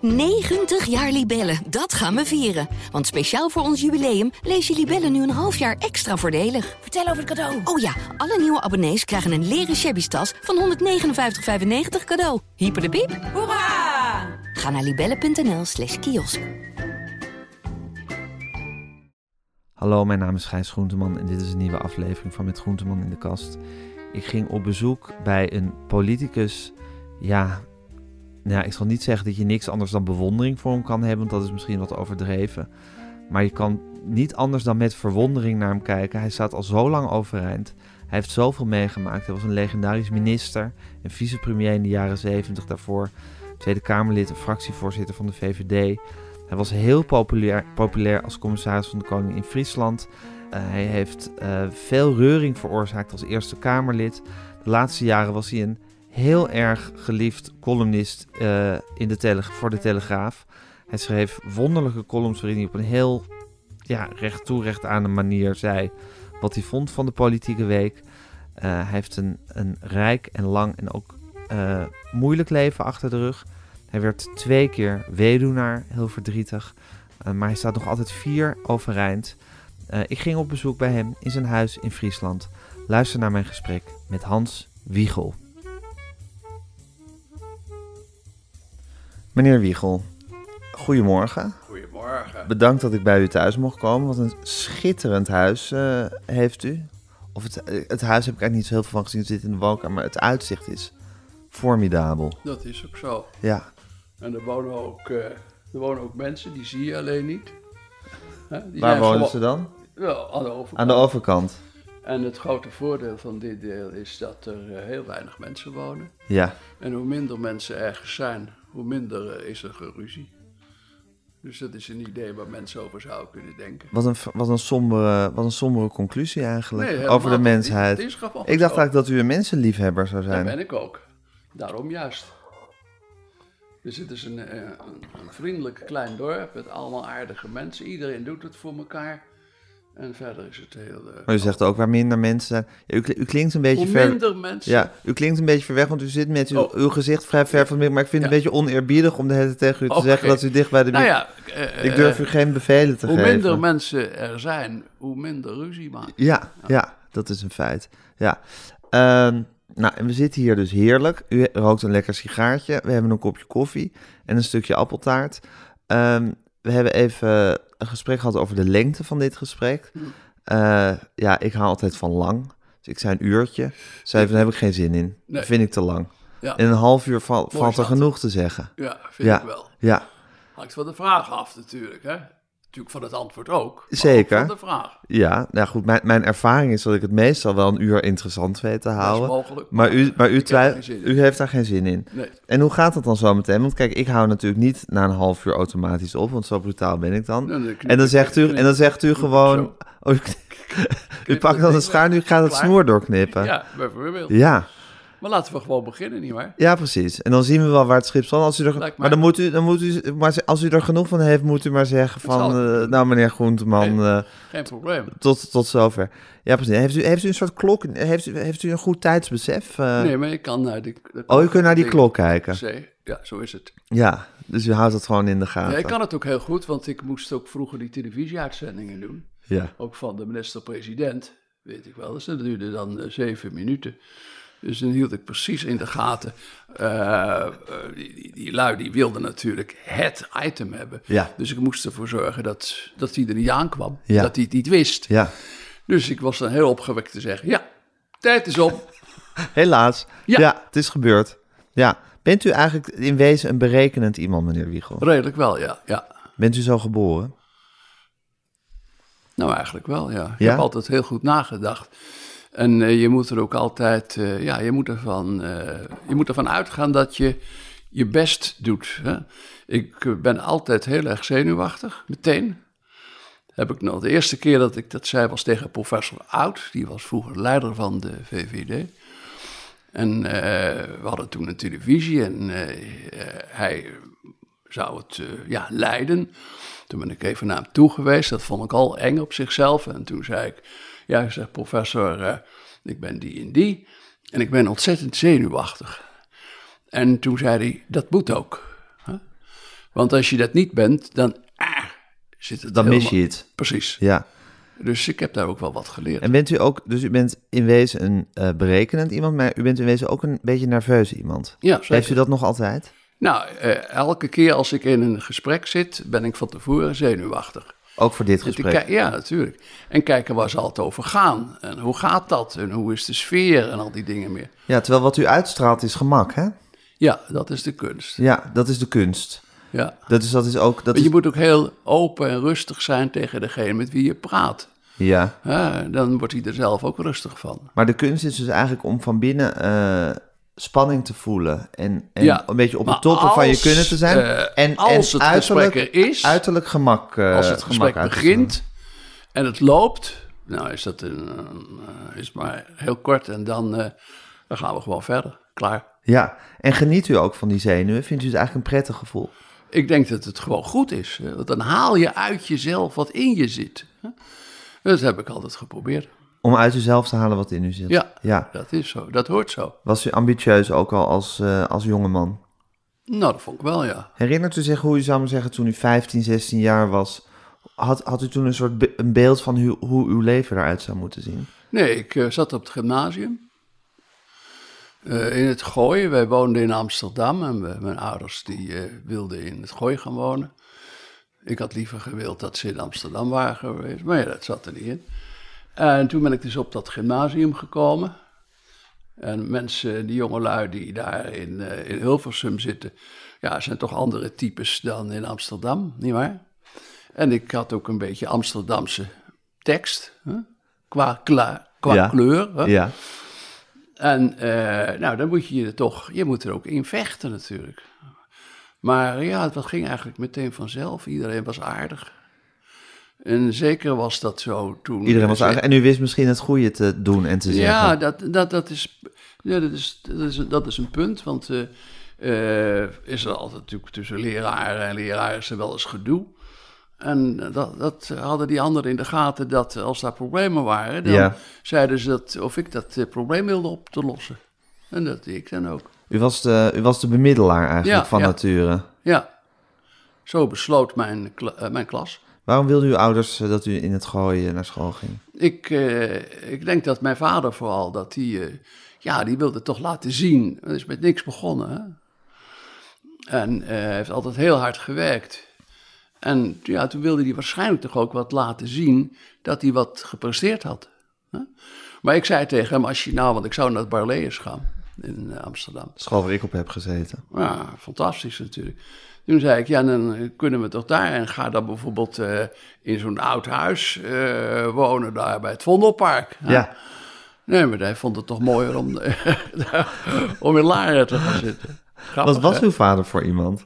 90 jaar Libellen, dat gaan we vieren. Want speciaal voor ons jubileum lees je Libellen nu een half jaar extra voordelig. Vertel over het cadeau. Oh ja, alle nieuwe abonnees krijgen een leren shabby tas van 159,95 cadeau. Hyper de piep. Hoera! Ga naar libellen.nl slash kiosk. Hallo, mijn naam is Gijs Groenteman en dit is een nieuwe aflevering van Met Groenteman in de Kast. Ik ging op bezoek bij een politicus. Ja, nou, ja, ik zal niet zeggen dat je niks anders dan bewondering voor hem kan hebben, want dat is misschien wat overdreven. Maar je kan niet anders dan met verwondering naar hem kijken. Hij staat al zo lang overeind. Hij heeft zoveel meegemaakt. Hij was een legendarisch minister en vicepremier in de jaren 70 daarvoor. Tweede Kamerlid en fractievoorzitter van de VVD. Hij was heel populair, populair als commissaris van de Koning in Friesland. Uh, hij heeft uh, veel reuring veroorzaakt als Eerste Kamerlid. De laatste jaren was hij een heel erg geliefd columnist uh, in de tele voor de Telegraaf. Hij schreef wonderlijke columns waarin hij op een heel ja, recht toe, recht aan een manier zei wat hij vond van de politieke week. Uh, hij heeft een, een rijk en lang en ook uh, moeilijk leven achter de rug. Hij werd twee keer weduwnaar, heel verdrietig. eh, maar hij staat nog altijd vier overeind. Eh, ik ging op bezoek bij hem in zijn huis in Friesland. Luister naar mijn gesprek met Hans Wiegel. Meneer Wiegel, goedemorgen. Goedemorgen. Bedankt dat ik bij u thuis mocht komen. Wat een schitterend huis uh, heeft u. Of het, eh, het huis heb ik eigenlijk niet zo heel veel van gezien zitten in de woonkamer, maar het uitzicht is formidabel. Dat is ook zo. Ja. En er wonen ook, uh, er wonen ook mensen, die zie je alleen niet. Huh? Die Waar wonen ze dan? Ja, aan de overkant. Aan de overkant. En het grote voordeel van dit deel is dat er eh, heel weinig mensen wonen. Ja. En hoe minder mensen ergens zijn, hoe minder eh, is er geruzie. Dus dat is een idee waar mensen over zouden kunnen denken. Wat een, wat een, sombere, wat een sombere conclusie eigenlijk nee, over de mensheid. Het is, het is ik dacht eigenlijk dat u een mensenliefhebber zou zijn. Dat ben ik ook. Daarom juist. Dus het is een, een, een vriendelijk klein dorp met allemaal aardige mensen. Iedereen doet het voor elkaar. En verder is het heel. Uh, maar u zegt ook waar minder mensen zijn. Ja, u, u, klinkt een beetje ver. minder mensen. Ja, u klinkt een beetje ver weg, want u zit met uw, oh. uw gezicht vrij ver van mij. Maar ik vind ja. het een beetje oneerbiedig om de hele tijd tegen u te okay. zeggen dat u dicht bij de. Oh, Nou ja, eh, uh, ik durf u geen bevelen te hoe geven. Hoe minder mensen er zijn, hoe minder ruzie maken. Ja, ja, ja dat is een feit. Ja. Um, nou, en we zitten hier dus heerlijk. U rookt een lekker sigaartje. We hebben een kopje koffie en een stukje appeltaart. Um, we hebben even een gesprek gehad over de lengte van dit gesprek. Hm. Uh, ja, ik haal altijd van lang. Dus ik zei een uurtje. Zei van, daar heb ik geen zin in. Nee. Dat vind ik te lang. Ja. In een half uur val, valt er genoeg te zeggen. Ja, vind ja. ik wel. Ja. Hangt van de vraag af natuurlijk, hè? Natuurlijk van het antwoord ook. Zeker. Ook van de vraag. Ja, nou goed, mijn, mijn ervaring is dat ik het meestal wel een uur interessant weet te houden. Mogelijk, maar, maar u, maar u, twijf, u heeft daar geen zin in. Nee. En hoe gaat dat dan zo meteen? Want kijk, ik hou natuurlijk niet na een half uur automatisch op, want zo brutaal ben ik dan. Nee, nee, knip, en, dan zegt u, en dan zegt u gewoon. Oh, u pakt dan een schaar, nu gaat het snoer doorknippen. Ja, bijvoorbeeld. Ja. Maar laten we gewoon beginnen, nietwaar? Ja, precies. En dan zien we wel waar het schip staat. Als u er, maar, maar dan moet u, dan moet u, maar als u er genoeg van heeft, moet u maar zeggen van, uh, nou meneer Groenteman. Geen, uh, geen probleem. Tot, tot zover. Ja, precies. Heeft u, heeft u een soort klok? Heeft u, heeft u een goed tijdsbesef? Uh, nee, maar ik kan naar die. Klok, Eh. oh, u kunt naar die klok kijken. Ja, zo is het. Ja, dus u houdt dat gewoon in de gaten. Nee, ik kan het ook heel goed, want ik moest ook vroeger die televisieuitzendingen doen. Ja. Ook van de minister-president, weet ik wel. Dus dat duurde dan zeven minuten. Dus dan hield ik precies in de gaten. Uh, die, die, die, lui die wilden natuurlijk het item hebben. Ja. Dus ik moest ervoor zorgen dat, dat die er niet aankwam. Ja. Dat hij het niet wist. Ja. Dus ik was dan heel opgewekt te zeggen: Ja, tijd is om. Helaas. Ja. het is gebeurd. Ja. Bent u eigenlijk in wezen een berekenend iemand, meneer Wiegel? Redelijk wel, ja. ja. Bent u zo geboren? Nou, eigenlijk wel, ja. Ik heb altijd heel goed nagedacht. En uh, je moet er ook altijd, uh, ja, je moet ervan, uh, je moet ervan uitgaan dat je je best doet. Hè? Ik eh, ben altijd heel erg zenuwachtig, meteen. Heb ik nog de eerste keer dat ik dat zei was tegen professor Oud, die was vroeger leider van de VVD. En eh, we hadden toen een televisie en eh, hij zou het eh, ja, leiden. Toen ben ik even naar hem toe geweest, dat vond ik al eng op zichzelf. En toen zei ik, ja, zegt professor, uh, ik ben die en die. En ik ben ontzettend zenuwachtig. En toen zei hij, dat moet ook. Huh? Want als je dat niet bent, dan ah, zit het Dan mis je helemaal- het. Precies. Ja. Dus ik heb daar ook wel wat geleerd. En bent u ook, dus u bent in wezen een eh, berekenend iemand, maar u bent in wezen ook een beetje nerveus iemand. Ja, zeker. Heeft u dat nog altijd? Nou, eh, elke keer als ik in een gesprek zit, ben ik van tevoren zenuwachtig. Ook voor dit En te gesprek. ki- Ja, natuurlijk. En kijken waar zal het over gaan. En hoe gaat dat? En hoe is de sfeer? En al die dingen meer. Ja, terwijl wat u uitstraalt is gemak, hè? Ja, dat is de kunst. Ja, dat is de kunst. Ja. Dat is, dat is ook... Dat Maar is, je moet ook heel open en rustig zijn tegen degene met wie je praat. Ja, Hè, dan wordt hij er zelf ook rustig van. maar de kunst is dus eigenlijk om van binnen eh, spanning te voelen. En, en Ja, een beetje op de maar toppen van je als, kunnen te zijn. eh, en, als en het uiterlijk, gesprek er is, Uiterlijk gemak. eh, Als het gesprek gemak uit te begint en het loopt, nou is dat een, eh, is maar heel kort en dan, eh, dan gaan we gewoon verder. Klaar. stralen. Ja, en geniet u ook van die zenuwen? Vindt u het eigenlijk een prettig gevoel? Ik denk dat het gewoon goed is. hè, Want dan haal je uit jezelf wat in je zit. hè. Dat heb ik altijd geprobeerd. Om uit uzelf te halen wat in u zit. Ja, ja. dat is zo. Dat hoort zo. Was u ambitieus ook al als, eh als jongeman? Nou, dat vond ik wel, ja. Herinnert u zich hoe u zou maar zeggen toen u 15, 16 jaar was? Had, had u toen een soort be- een beeld van hoe, hoe uw leven eruit zou moeten zien? Nee, ik eh, zat op het gymnasium. Eh, in het Gooi. Wij woonden in Amsterdam en we- mijn ouders die, eh, wilden in het Gooi gaan wonen. Ik had liever gewild dat ze in Amsterdam waren geweest, maar ja, dat zat er niet in. En toen ben ik dus op dat gymnasium gekomen. En mensen, die jongelui die daar in, eh, in Hilversum zitten, ja, zijn toch andere types dan in Amsterdam, nietwaar? En ik had ook een beetje Amsterdamse tekst, hè? qua, kla- qua Ja. kleur. Hè? Ja. En eh, nou, dan moet je je er toch, je moet er ook in vechten natuurlijk. Maar ja, dat ging eigenlijk meteen vanzelf. Iedereen was aardig. En zeker was dat zo toen. Iedereen was aardig. En u wist misschien het goede te doen en te zeggen. Ja, dat, dat, dat, is, ja dat, is, dat, is, dat is een punt. Want eh, eh, is er altijd natuurlijk tussen leraren en leraressen wel eens gedoe. En dat, dat hadden die anderen in de gaten dat als daar problemen waren, dan Ja. zeiden ze dat, of ik dat eh, probleem wilde op te lossen. En dat deed ik dan ook. U, was de, u was de bemiddelaar eigenlijk Ja, van ja. nature. Ja, zo besloot mijn, kla- eh, mijn klas. Waarom wilden uw ouders eh, dat u in het gooien naar school ging? Ik, eh, ik denk dat mijn vader vooral, dat die, eh, ja, die wilde toch laten zien. Dat is met niks begonnen. Hè? En eh, hij heeft altijd heel hard gewerkt. En ja, toen wilde hij waarschijnlijk toch ook wat laten zien dat hij wat gepresteerd had. Hè? Maar ik zei tegen hem, als je nou, want ik zou naar het Barlees gaan in eh, Amsterdam. School waar ik op heb gezeten. Ja, fantastisch natuurlijk. Toen zei ik, ja, dan eh, kunnen we toch daar en ga dan bijvoorbeeld eh, in zo'n oud huis eh, wonen daar bij het Vondelpark. Nou, Ja. Nee, maar hij vond het toch mooier om, om in Laren te gaan zitten. Grappig, Wat was hè? uw vader voor iemand?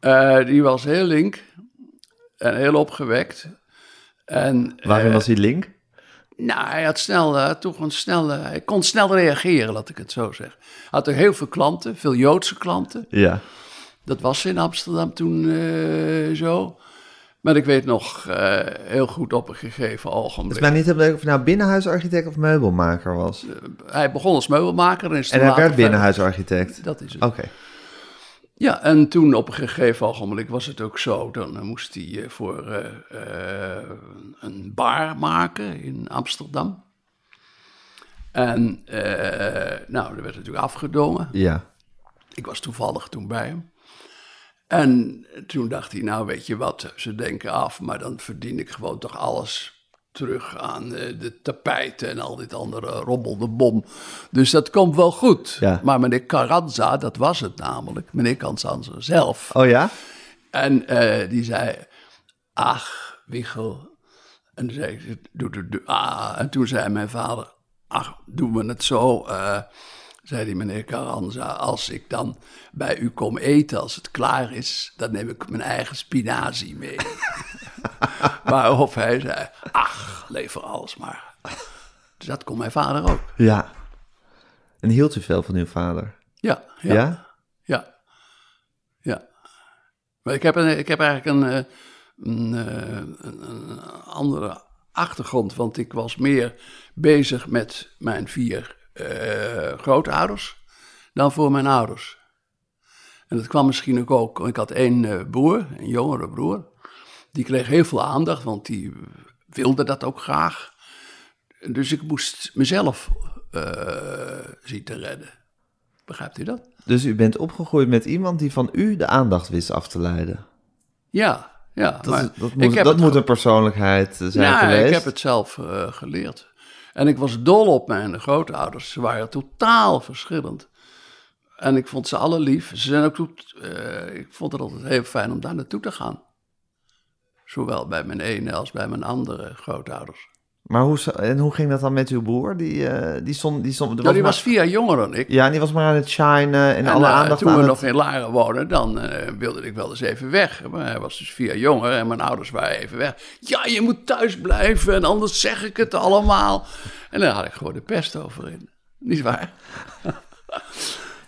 Eh, die was heel link en heel opgewekt. En, eh, Waarin was hij link? nou, hij had snel, eh, toch een snel, eh, hij kon snel reageren, laat ik het zo zeggen. Hij had er heel veel klanten, veel Joodse klanten. Ja. Dat was in Amsterdam toen eh, zo. Maar ik weet nog eh, heel goed op een gegeven Het is ogenblik. mij niet heel duidelijk of hij nou binnenhuisarchitect of meubelmaker was. Hij begon als meubelmaker en is En toen hij later werd verder- binnenhuisarchitect. Dat is het. Oké. Ja, en toen op een gegeven ogenblik was het ook zo. Dan eh, moest hij eh, voor eh, eh, een bar maken in Amsterdam. En eh, nou, dat werd natuurlijk afgedongen. Ja. Ik was toevallig toen bij hem. En toen dacht hij, nou weet je wat, ze denken af, maar dan verdien ik gewoon toch alles terug aan eh, de tapijten en al dit andere rommel de bom. Dus dat komt wel goed. Ja. Maar meneer Carranza, dat was het namelijk, meneer Carranza zelf. Oh ja? En eh, die zei, ach, Wiegel. En toen zei ik, doe, doe, doe, ah. En toen zei mijn vader, ach, doen we het zo, eh, zei die meneer Carranza, als ik dan bij u kom eten, als het klaar is, dan neem ik mijn eigen spinazie mee. Waarop hij zei, ach, lever alles maar. Dus dat kon mijn vader ook. Ja. En hield u veel van uw vader? Ja, Ja? ja, ja. ja. Maar ik heb, een, ik heb eigenlijk een, eh, een, eh, een, een andere achtergrond, want ik was meer bezig met mijn vier eh, grootouders dan voor mijn ouders. En dat kwam misschien ook ook. Ik had één eh, broer, een jongere broer. Die kreeg heel veel aandacht, want die wilde dat ook graag. Dus ik moest mezelf eh, zien te redden. Begrijpt u dat? Dus u bent opgegroeid met iemand die van u de aandacht wist af te leiden. Ja, ja. Dat, maar is- dat ik moet, heb dat het moet een persoonlijkheid eh, zijn ja, geweest. ik heb het zelf eh, geleerd. En ik was dol op mijn grootouders. Ze waren totaal verschillend. En ik vond ze alle lief. Ze zijn ook tot- eh, ik vond het altijd heel fijn om daar naartoe te gaan. Zowel bij mijn ene als bij mijn andere grootouders. Maar hoe, zo- en hoe ging dat dan met uw broer? Die, eh die stond... Die stond er Nou, die maar- was vier jaar jonger dan ik. Ja, en die was maar aan het shinen en, En alle eh, aandacht toen aan we het... nog in Laren woonden, dan eh, wilde ik wel eens even weg. Maar hij was dus vier jaar jonger en mijn ouders waren even weg. Ja, je moet thuis blijven en anders zeg ik het allemaal. En daar had ik gewoon de pest over in. Niet waar?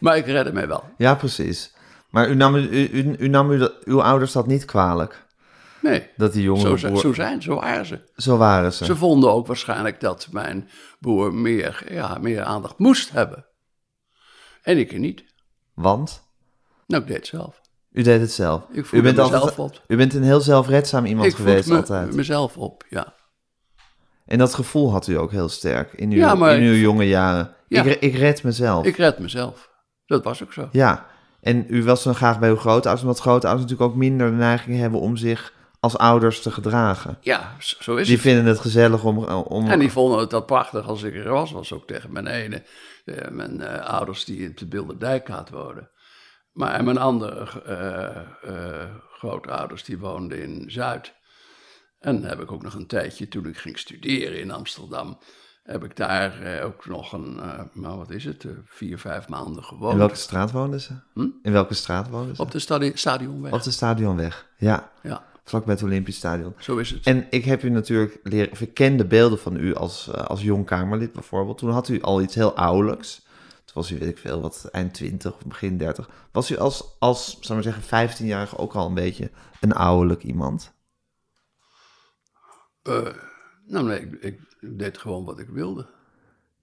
maar ik redde mij wel. Ja, precies. Maar u nam, u, u, u nam u dat, uw ouders dat niet kwalijk? Nee, Dat die jongere zo, zijn- broer... zo zijn, zo waren ze. Zo waren ze. Ze vonden ook waarschijnlijk dat mijn broer meer, ja, meer aandacht moest hebben. En ik niet. Want? Nou, ik deed het zelf. U deed het zelf. Ik voelde u, bent mezelf altijd, op. u bent een heel zelfredzaam iemand Ik geweest voed me- altijd. mezelf op, ja. En dat gevoel had u ook heel sterk in uw, Ja, maar in ik- uw jonge jaren. Ja. Ik, ik red mezelf. Ik red mezelf. Dat was ook zo. Ja, en u was dan graag bij uw grootouders, omdat grootouders natuurlijk ook minder de neiging hebben om zich als ouders te gedragen. Ja, zo zo is Die het. vinden het gezellig om... eh, om En die vonden het dat prachtig als ik er was. was ook tegen mijn ene, eh, mijn eh, ouders die in de Bilderdijkkaat woonden. Maar en mijn andere eh, eh, grootouders die woonden in Zuid. En heb ik ook nog een tijdje, toen ik ging studeren in Amsterdam, heb ik daar eh, ook nog een, eh, nou wat is het, eh, vier, vijf maanden In gewoond. welke straat woonden ze? In welke straat woonden ze? Hm? Op de stadi- stadionweg. Op de stadionweg, ja. Ja, Vlak bij het Olympisch Stadion. zo is het. En ik heb u natuurlijk leren, of ik ken de beelden van u als, eh, als jong Kamerlid bijvoorbeeld. Toen had u al iets heel ouderlijks. Toen was u, weet ik veel, wat eind 20 of begin 30. Was u als, als zou maar zeggen, 15-jarige ook al een beetje een ouderlijk iemand? Eh, nou nee, ik, ik, ik deed gewoon wat ik wilde.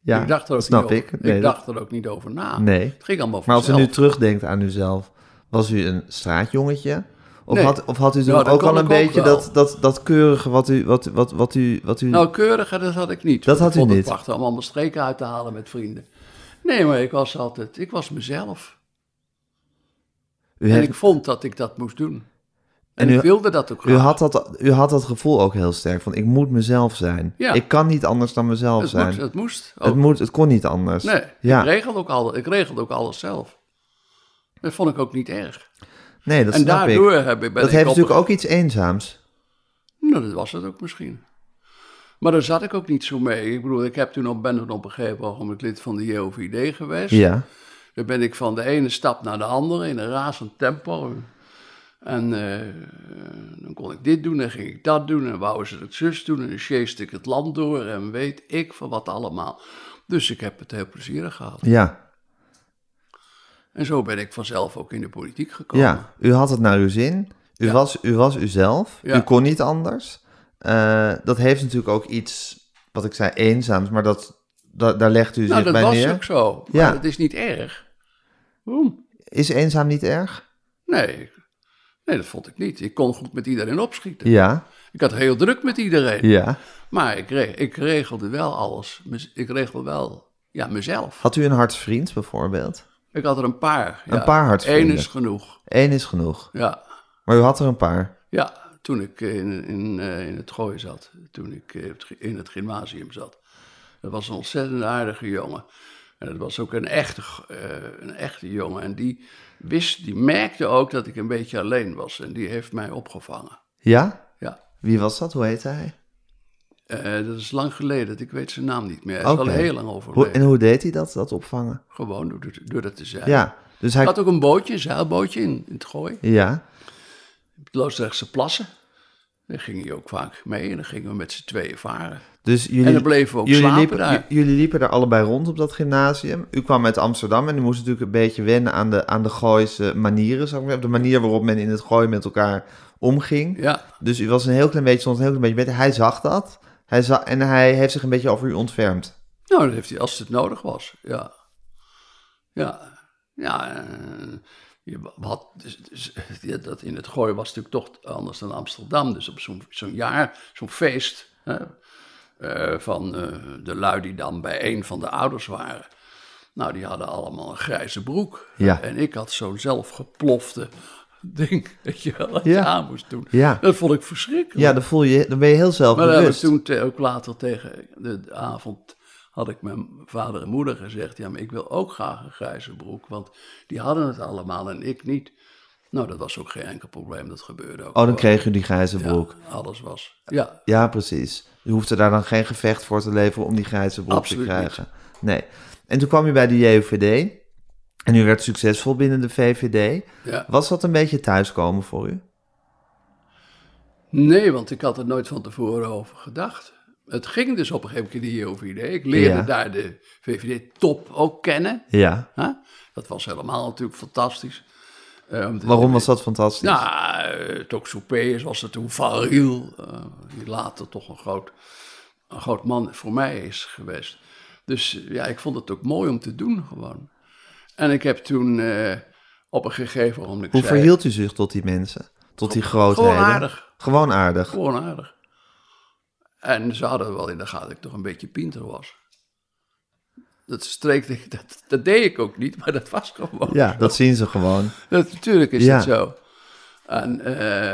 Ja, ik dacht er ook snap niet ik. Over. Nee, ik dat- dacht ah, er ook niet over na. Nee. Het ging allemaal Maar als u vanzelf. nu terugdenkt aan uzelf, was u een straatjongetje? Of, Nee. had, of had u toen Nou, dat ook kon al een ik ook beetje wel. dat, dat, dat keurige wat u... Wat, wat, wat u, wat u... Nou, keuriger, dat had ik niet. Dat Ik had u vond niet. Het prachtig om allemaal streken uit te halen met vrienden. Nee, maar ik was altijd, ik was mezelf. u, En hebt- ik vond dat ik dat moest doen. En, En u- ik wilde dat ook u, graag. had dat, u had dat gevoel ook heel sterk van ik moet mezelf zijn. Ja. Ik kan niet anders dan mezelf het, zijn. moest, het moest. ook. Het, moet, het kon niet anders. nee, ja. ik, regelde ook alles, ik regelde ook alles zelf. Dat vond ik ook niet erg. nee dat en snap ik. daardoor heb ik... ben Dat ik heeft op- natuurlijk ook iets eenzaams. Nou, dat was het ook misschien. Maar daar zat ik ook niet zo mee. Ik bedoel, ik heb toen op, ben toen op een gegeven moment lid van de JOVD geweest. Ja. Daar ben ik van de ene stap naar de andere in een razend tempo. En eh, eh, dan kon ik dit doen en ging ik dat doen en wou ze het zus doen en dan sjeest ik het land door en weet ik van wat allemaal. Dus ik heb het heel plezierig gehad. Ja. En zo ben ik vanzelf ook in de politiek gekomen. Nou, ja. U had het naar uw zin. U, Ja. was, u was uzelf. Ja. U kon niet anders. Eh, dat heeft natuurlijk ook iets, wat ik zei, eenzaams. Maar dat, da- daar legt u nou, zich dat bij was neer. ook zo. Maar Ja. dat is niet erg. Waarom? Is eenzaam niet erg? Nee. nee, dat vond ik niet. Ik kon goed met iedereen opschieten. Ja. Ik had heel druk met iedereen. ja. Maar ik, re- ik regelde wel alles. Mez- Ik regelde wel ja, mezelf. Had u een hartsvriend bijvoorbeeld? Ik had er een paar. ja. Een paar hartsvrienden. Eén is genoeg. Eén is genoeg. Ja, Maar u had er een paar. ja toen ik in, in, eh, in het gooi zat. Toen ik eh, op het ge- in het gymnasium zat. Dat was een ontzettend aardige jongen. En dat was ook een echte, g- eh, een echte jongen. En die wist, die merkte ook dat ik een beetje alleen was. En die heeft mij opgevangen. Ja? Ja. Wie was dat? Hoe heette hij? Eh, dat is lang geleden, ik weet zijn naam niet meer. Hij is Oké. al heel lang Hoe, overleden. en hoe deed hij dat, dat opvangen? Gewoon door, dat- door dat te zijn. Ja. Dus Ik hij... had ook een bootje, een zeilbootje in, in het gooi. Ja. Het Loosdrechtse plassen. Daar ging hij ook vaak mee en dan gingen we met z'n tweeën varen. Dus jullie, En dan bleven we ook jullie slapen liepen, daar. j- jullie liepen daar allebei rond op dat gymnasium. U kwam uit Amsterdam en u moest natuurlijk een beetje wennen aan de, aan de Gooise manieren. Zou ik maar, zeggen. de manier waarop men in het gooi met elkaar omging. Ja, Dus u was een heel klein beetje, soms een heel klein beetje beter. Hij zag dat hij za en hij heeft zich een beetje over u ontfermd. nou, dat heeft hij als het nodig was. Ja. Ja. Ja. eh, Je had, dus- dus- ja, dat in het Gooi was natuurlijk toch anders dan Amsterdam. Dus op zo'n zo'n jaar, zo'n feest hè, eh, van eh, de lui die dan bij een van de ouders waren. Nou, die hadden allemaal een grijze broek. Ja. En ik had zo'n zelfgeplofte ding, weet je wel, dat je Ja. aan moest doen. Ja. Dat vond ik verschrikkelijk. Ja, dan, voel je, dan ben je heel Maar dat heb ik zelfbewust. toen te- ook later tegen de, de avond had ik mijn vader en moeder gezegd: Ja, maar ik wil ook graag een grijze broek, want die hadden het allemaal en ik niet. Nou, dat was ook geen enkel probleem, dat gebeurde ook. Oh, dan gewoon. kreeg je die grijze Ja, broek. alles was. Ja, Ja, precies. Je hoefde daar dan geen gevecht voor te leveren om die grijze broek Absoluut te niet. krijgen. Nee. En toen kwam je bij de JVD. En u werd succesvol binnen de VVD. ja. Was dat een beetje thuiskomen voor u? Nee, want ik had er nooit van tevoren over gedacht. Het ging dus op een gegeven moment die JOVD. Ik leerde Ja. daar de VVD-top ook kennen. Ja. hè? Dat was helemaal natuurlijk fantastisch. Eh, om te- Waarom was dat fantastisch? Nou, eh, Toxopeus was het toen, Van Riel, eh, die later toch een groot, een groot man voor mij is geweest. Dus eh, ja, ik vond het ook mooi om te doen gewoon. En ik heb toen eh, op een gegeven moment Hoe zei, verhield u zich tot die mensen? Tot die grootheden? Gewoon aardig. Gewoon aardig. Gewoon aardig. En ze hadden wel in de gaten dat ik toch een beetje pinter was. Dat, streek, dat, dat deed ik ook niet, maar dat was gewoon Ja, dat zien ze gewoon. Dat, natuurlijk is Ja. dat zo. En,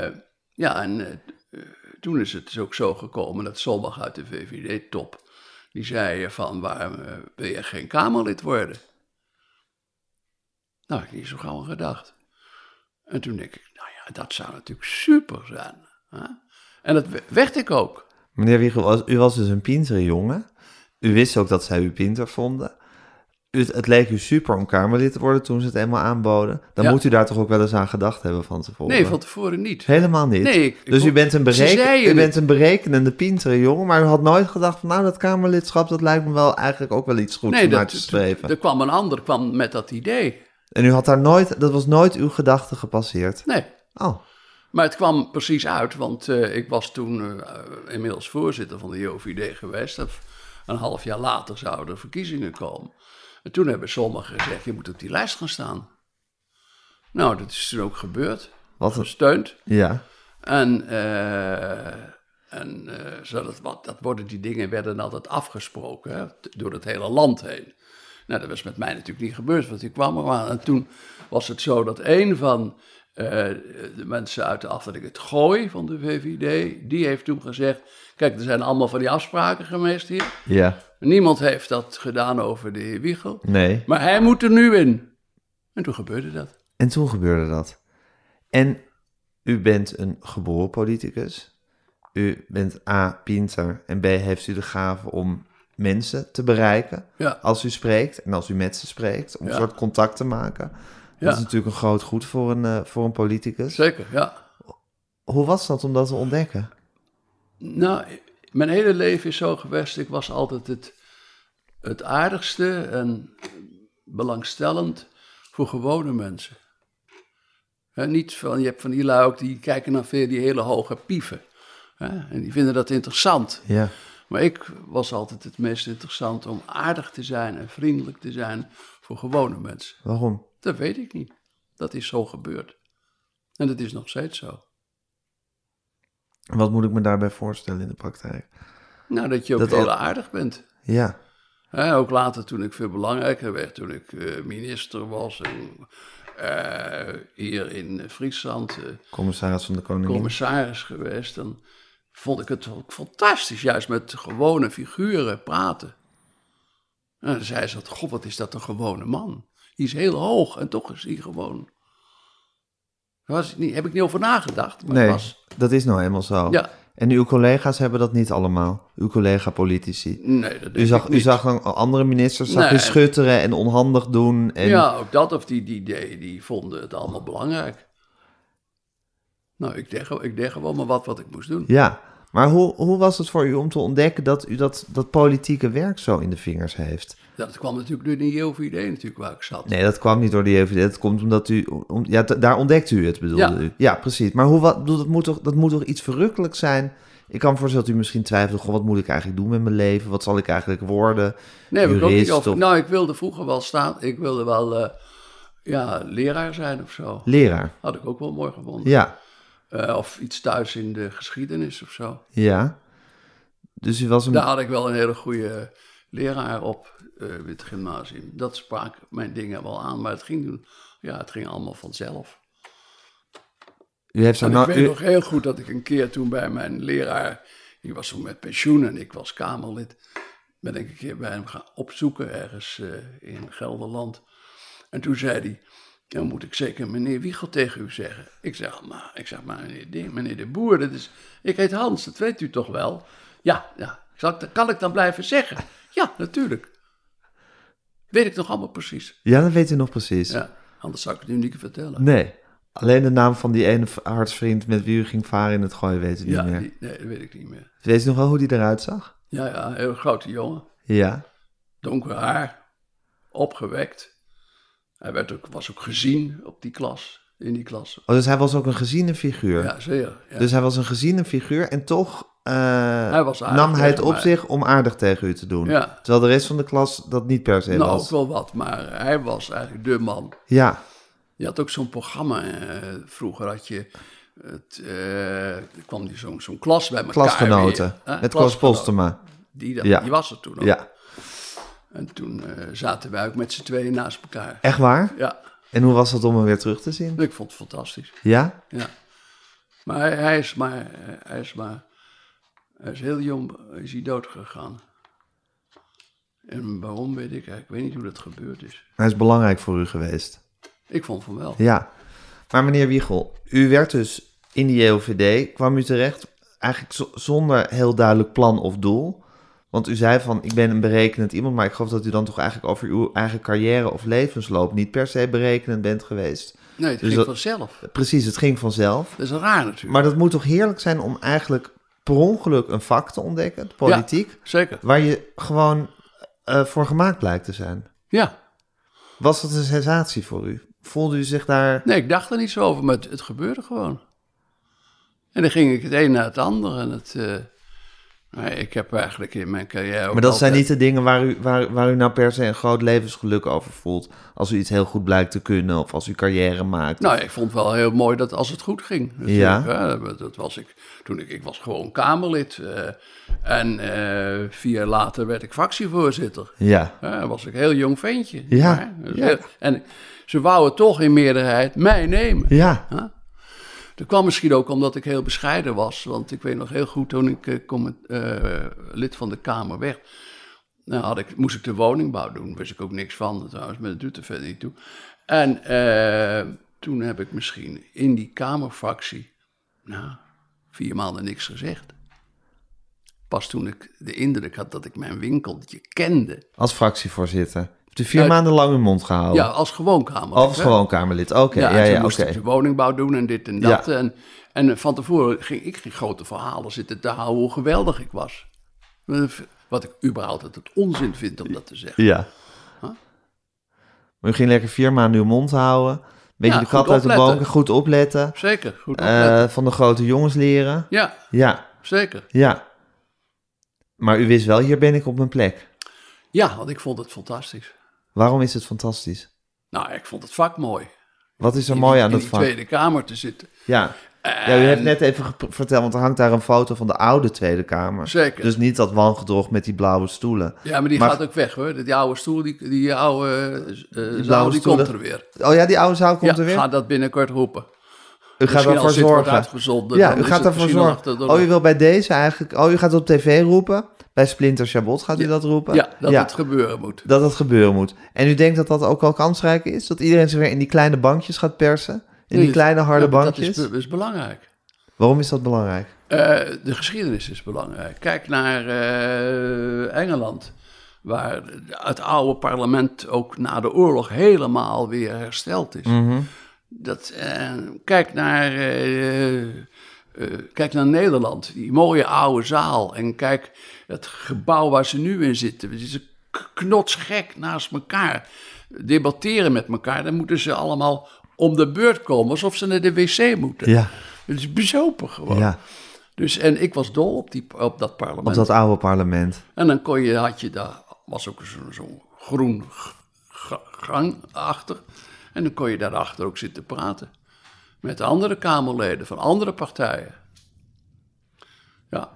eh, ja, en eh, toen is het dus ook zo gekomen dat Solbach uit de VVD-top, die zei eh, van waarom eh, wil je geen Kamerlid worden? Nou, ik niet zo gauw aan gedacht. En toen denk ik, nou ja, dat zou natuurlijk super zijn. Hè? En dat we- werd ik ook. Meneer Wiegel, was- u was dus een pintere jongen. U wist ook dat zij u pinter vonden. U, het leek u super om Kamerlid te worden toen ze het eenmaal aanboden. Dan Ja. moet u daar toch ook wel eens aan gedacht hebben van tevoren? Nee, van tevoren niet. Helemaal niet. Nee, ik- ik dus u kon- bent, een Ze bereken- zeiden u het. bent een berekenende, pintere jongen, maar u had nooit gedacht van nou, dat Kamerlidschap, dat lijkt me wel eigenlijk ook wel iets goeds Nee, om naar dat, te streven. er kwam een ander kwam met dat idee. En u had daar nooit, dat was nooit uw gedachte gepasseerd. Nee. Oh, Maar het kwam precies uit, want eh, ik was toen eh, inmiddels voorzitter van de JOVD geweest. En Een half jaar later zouden er verkiezingen komen. En toen hebben sommigen gezegd, je moet op die lijst gaan staan. Nou, dat is toen ook gebeurd. wat een... Gesteund. Ja, En, eh, en eh, zo dat, wat- dat worden die dingen werden altijd afgesproken hè, t- door het hele land heen. Nou, dat was met mij natuurlijk niet gebeurd, want ik kwam er maar. En toen was het zo dat een van eh, de mensen uit de afdeling Het Gooi van de VVD, die heeft toen gezegd... Kijk, er zijn allemaal van die afspraken geweest hier. ja, Niemand heeft dat gedaan over de heer Wiegel. nee. Maar hij moet er nu in. En toen gebeurde dat. En toen gebeurde dat. En u bent een geboren politicus. U bent A, pinter en B, heeft u de gave om mensen te bereiken Ja, als u spreekt en als u met ze spreekt, om een Ja. soort contact te maken. Dat Ja. is natuurlijk een groot goed voor een, eh, voor een politicus. zeker, ja. Hoe was dat om dat te ontdekken? Nou, mijn hele leven is zo geweest. Ik was altijd het, het aardigste en belangstellend voor gewone mensen. Hè, niet van, je hebt van die lui ook die kijken naar veel die hele hoge pieven. Hè, en die vinden dat interessant. Ja, Maar ik was altijd het meest interessant om aardig te zijn en vriendelijk te zijn voor gewone mensen. waarom? Dat weet ik niet. Dat is zo gebeurd. En dat is nog steeds zo. Wat moet ik me daarbij voorstellen in de praktijk? Nou, dat je ook Dat al- heel aardig bent. Ja, Hè, ook later toen ik veel belangrijker werd, toen ik eh, minister was en eh, hier in Friesland eh, commissaris van de Koningin. commissaris geweest, dan vond ik het ook fantastisch juist met gewone figuren praten. En dan zei ze, dat, god wat is dat een gewone man. Die is heel hoog en toch is hij gewoon. Daar was ik niet, heb ik niet over nagedacht, maar nee, het was... dat is nou eenmaal zo. Ja. En uw collega's hebben dat niet allemaal, uw collega-politici. Nee, dat U denk zag, ik u niet. zag dan andere ministers zag Nee. u schutteren en onhandig doen. En, Ja, ook dat of die, die, die, die vonden het allemaal belangrijk. Nou, ik deed, gewoon- ik deed gewoon maar wat, wat ik moest doen. Ja. Maar hoe, hoe was het voor u om te ontdekken dat u dat, dat politieke werk zo in de vingers heeft? Dat kwam natuurlijk door de JOVD natuurlijk waar ik zat. Nee, dat kwam niet door die EVD. Dat komt omdat u... om- ja, d- daar ontdekt u het, bedoelde Ja. u. Ja, precies. Maar hoe, wat, bedoel, dat, moet toch, dat moet toch iets verrukkelijks zijn? Ik kan me voorstellen dat u misschien twijfelt... Goh, wat moet ik eigenlijk doen met mijn leven? Wat zal ik eigenlijk worden? Nee, heb ik ook Jurist niet over. of- Nou, ik wilde vroeger wel staan. Ik wilde wel eh, ja, leraar zijn of zo. Leraar. Had ik ook wel mooi gevonden. Ja, Eh, of iets thuis in de geschiedenis of zo. ja. Dus u was een... Daar had ik wel een hele goede leraar op eh in het gymnasium. Dat sprak mijn dingen wel aan, maar het ging, ja, het ging allemaal vanzelf. U heeft En daar nou... ik weet u- nog heel goed dat ik een keer toen bij mijn leraar, die was toen met pensioen en ik was Kamerlid, ben ik een keer bij hem gaan opzoeken ergens eh, in Gelderland. En toen zei hij, dan moet ik zeker meneer Wiegel tegen u zeggen. Ik zeg, maar, ik zeg, maar meneer, de, meneer de Boer, dat is, ik heet Hans, dat weet u toch wel? Ja, ja. Ik zeg, "Dat kan ik dan blijven zeggen? Ja, natuurlijk. Weet ik nog allemaal precies. Ja, dat weet u nog precies. Ja, anders zou ik het u niet vertellen. Nee. Alleen de naam van die ene v- hartsvriend met wie u ging varen in het gooien weet u niet ja, meer. die- nee, dat weet ik niet meer. Weet u nog wel hoe die eruit zag? Ja, ja, een heel grote jongen. Ja. donker haar, opgewekt. Hij werd ook, was ook gezien op die klas, in die klas. Oh, dus hij was ook een geziene figuur. Ja, zeer. Ja. Dus hij was een geziene figuur en toch eh, Hij was aardig nam hij het tegen op mij. zich om aardig tegen u te doen. Ja. Terwijl de rest van de klas dat niet per se nou, was. ook wel wat, maar hij was eigenlijk de man. Ja, Je had ook zo'n programma eh, vroeger, had je... Het, eh, er kwam die zo'n zo'n klas bij elkaar klasgenoten. weer, hè? Met Klaas Postema. Die, dat- Ja. die was er toen ook. Ja, En toen eh, zaten wij ook met z'n tweeën naast elkaar. echt waar? Ja, En hoe was dat om hem weer terug te zien? ik vond het fantastisch. Ja? Ja. Maar hij, hij is maar, eh, hij is maar, hij is heel jong, eh, is hij dood gegaan. En waarom weet ik, ik weet niet hoe dat gebeurd is. Hij is belangrijk voor u geweest. Ik vond van wel. Ja. Maar meneer Wiegel, u werd dus in de JOVD, kwam u terecht eigenlijk zo- zonder heel duidelijk plan of doel. Want u zei van, ik ben een berekenend iemand, maar ik geloof dat u dan toch eigenlijk over uw eigen carrière of levensloop niet per se berekenend bent geweest. Nee, het Dus ging dat- vanzelf. Precies, het ging vanzelf. Dat is raar natuurlijk. Maar dat moet toch heerlijk zijn om eigenlijk per ongeluk een vak te ontdekken, de politiek, Ja, zeker. waar je gewoon eh, voor gemaakt blijkt te zijn. Ja. Was dat een sensatie voor u? Voelde u zich daar... Nee, ik dacht er niet zo over, maar het, het gebeurde gewoon. En dan ging ik het een na het ander en het... eh, nee, ik heb eigenlijk in mijn carrière ook Maar dat zijn altijd- niet de dingen waar u, waar, waar u nou per se een groot levensgeluk over voelt. Als u iets heel goed blijkt te kunnen of als u carrière maakt. Nou, ik vond het wel heel mooi dat als het goed ging. Ja. natuurlijk, Hè, dat was ik toen ik, ik was gewoon Kamerlid. eh, en eh, vier jaar later werd ik fractievoorzitter. Ja, Hè, dan was ik een heel jong ventje. Ja, hè. Dus ja. heel- en ze wouden toch in meerderheid mij nemen. ja, Hè? Dat kwam misschien ook omdat ik heel bescheiden was. Want ik weet nog heel goed, toen ik eh, comment- eh, lid van de Kamer werd, nou had ik, moest ik de woningbouw doen. Daar wist ik ook niks van trouwens, maar dat doet er verder niet toe. En eh, toen heb ik misschien in die Kamerfractie, nou, vier maanden niks gezegd. Pas toen ik de indruk had dat ik mijn winkeltje kende. als fractievoorzitter. Hebt u vier Uit- maanden lang uw mond gehouden? Ja, als gewoon Kamer. Oh. Als gewoon Kamerlid. Oké, Ja, ja, en ja, toen oké. moest ik de woningbouw doen en dit en dat. Ja. En, en van tevoren ging ik ging grote verhalen zitten te houden hoe geweldig ik was. Wat ik überhaupt het onzin vind om dat te zeggen. Ja. Maar u ging lekker vier maanden uw mond houden. Beetje Ja, de kat goed uit de opletten. banken, goed opletten. Zeker, goed opletten. eh, van de grote jongens leren. Ja, Ja, zeker. ja. Maar u wist wel, hier ben ik op mijn plek. Ja, want ik vond het fantastisch. Waarom is het fantastisch? Nou, ik vond het vak mooi. Wat is er In mooi die- aan in dat die vak? Tweede Kamer te zitten. Ja. ja, u heeft net even gep- verteld, want er hangt daar een foto van de oude Tweede Kamer. Zeker. Dus niet dat wangedrocht met die blauwe stoelen. Ja, maar die Maar- gaat ook weg hoor. Die oude stoel, die, die oude eh, zaal, blauwe die stoelen. komt er weer. Oh ja, die oude zaal komt ja, er weer. ga dat binnenkort roepen. u gaat Misschien daarvoor als dit wordt zorgen. uitgezonden, Ja, dan u is gaat het daarvoor misschien nog zorgen. dat- Oh, u wil bij deze eigenlijk. Oh, u gaat op tv roepen. Bij Splinter Chabot gaat u dat roepen. Ja, dat het gebeuren moet. dat het gebeuren moet. En u denkt dat dat ook al kansrijk is? Dat iedereen zich weer in die kleine bankjes gaat persen? In die Nee, kleine harde ja, maar bankjes? Dus Dat is, be- is belangrijk. Waarom is dat belangrijk? Eh, de geschiedenis is belangrijk. Kijk naar eh, Engeland, waar het oude parlement ook na de oorlog helemaal weer hersteld is. Dat, eh, kijk, naar, eh, eh, kijk naar Nederland, die mooie oude zaal. En kijk het gebouw waar ze nu in zitten. Ze zitten k- knotsgek naast elkaar. Debatteren met elkaar. Dan moeten ze allemaal om de beurt komen, alsof ze naar de wc moeten. Ja, Het is bezopen gewoon. ja. Dus, en ik was dol op, die, op dat parlement. Op dat oude parlement. En dan kon je, had je daar, was ook zo'n zo groen g- g- gang achter. En dan kon je daarachter ook zitten praten. Met andere Kamerleden van andere partijen. Ja,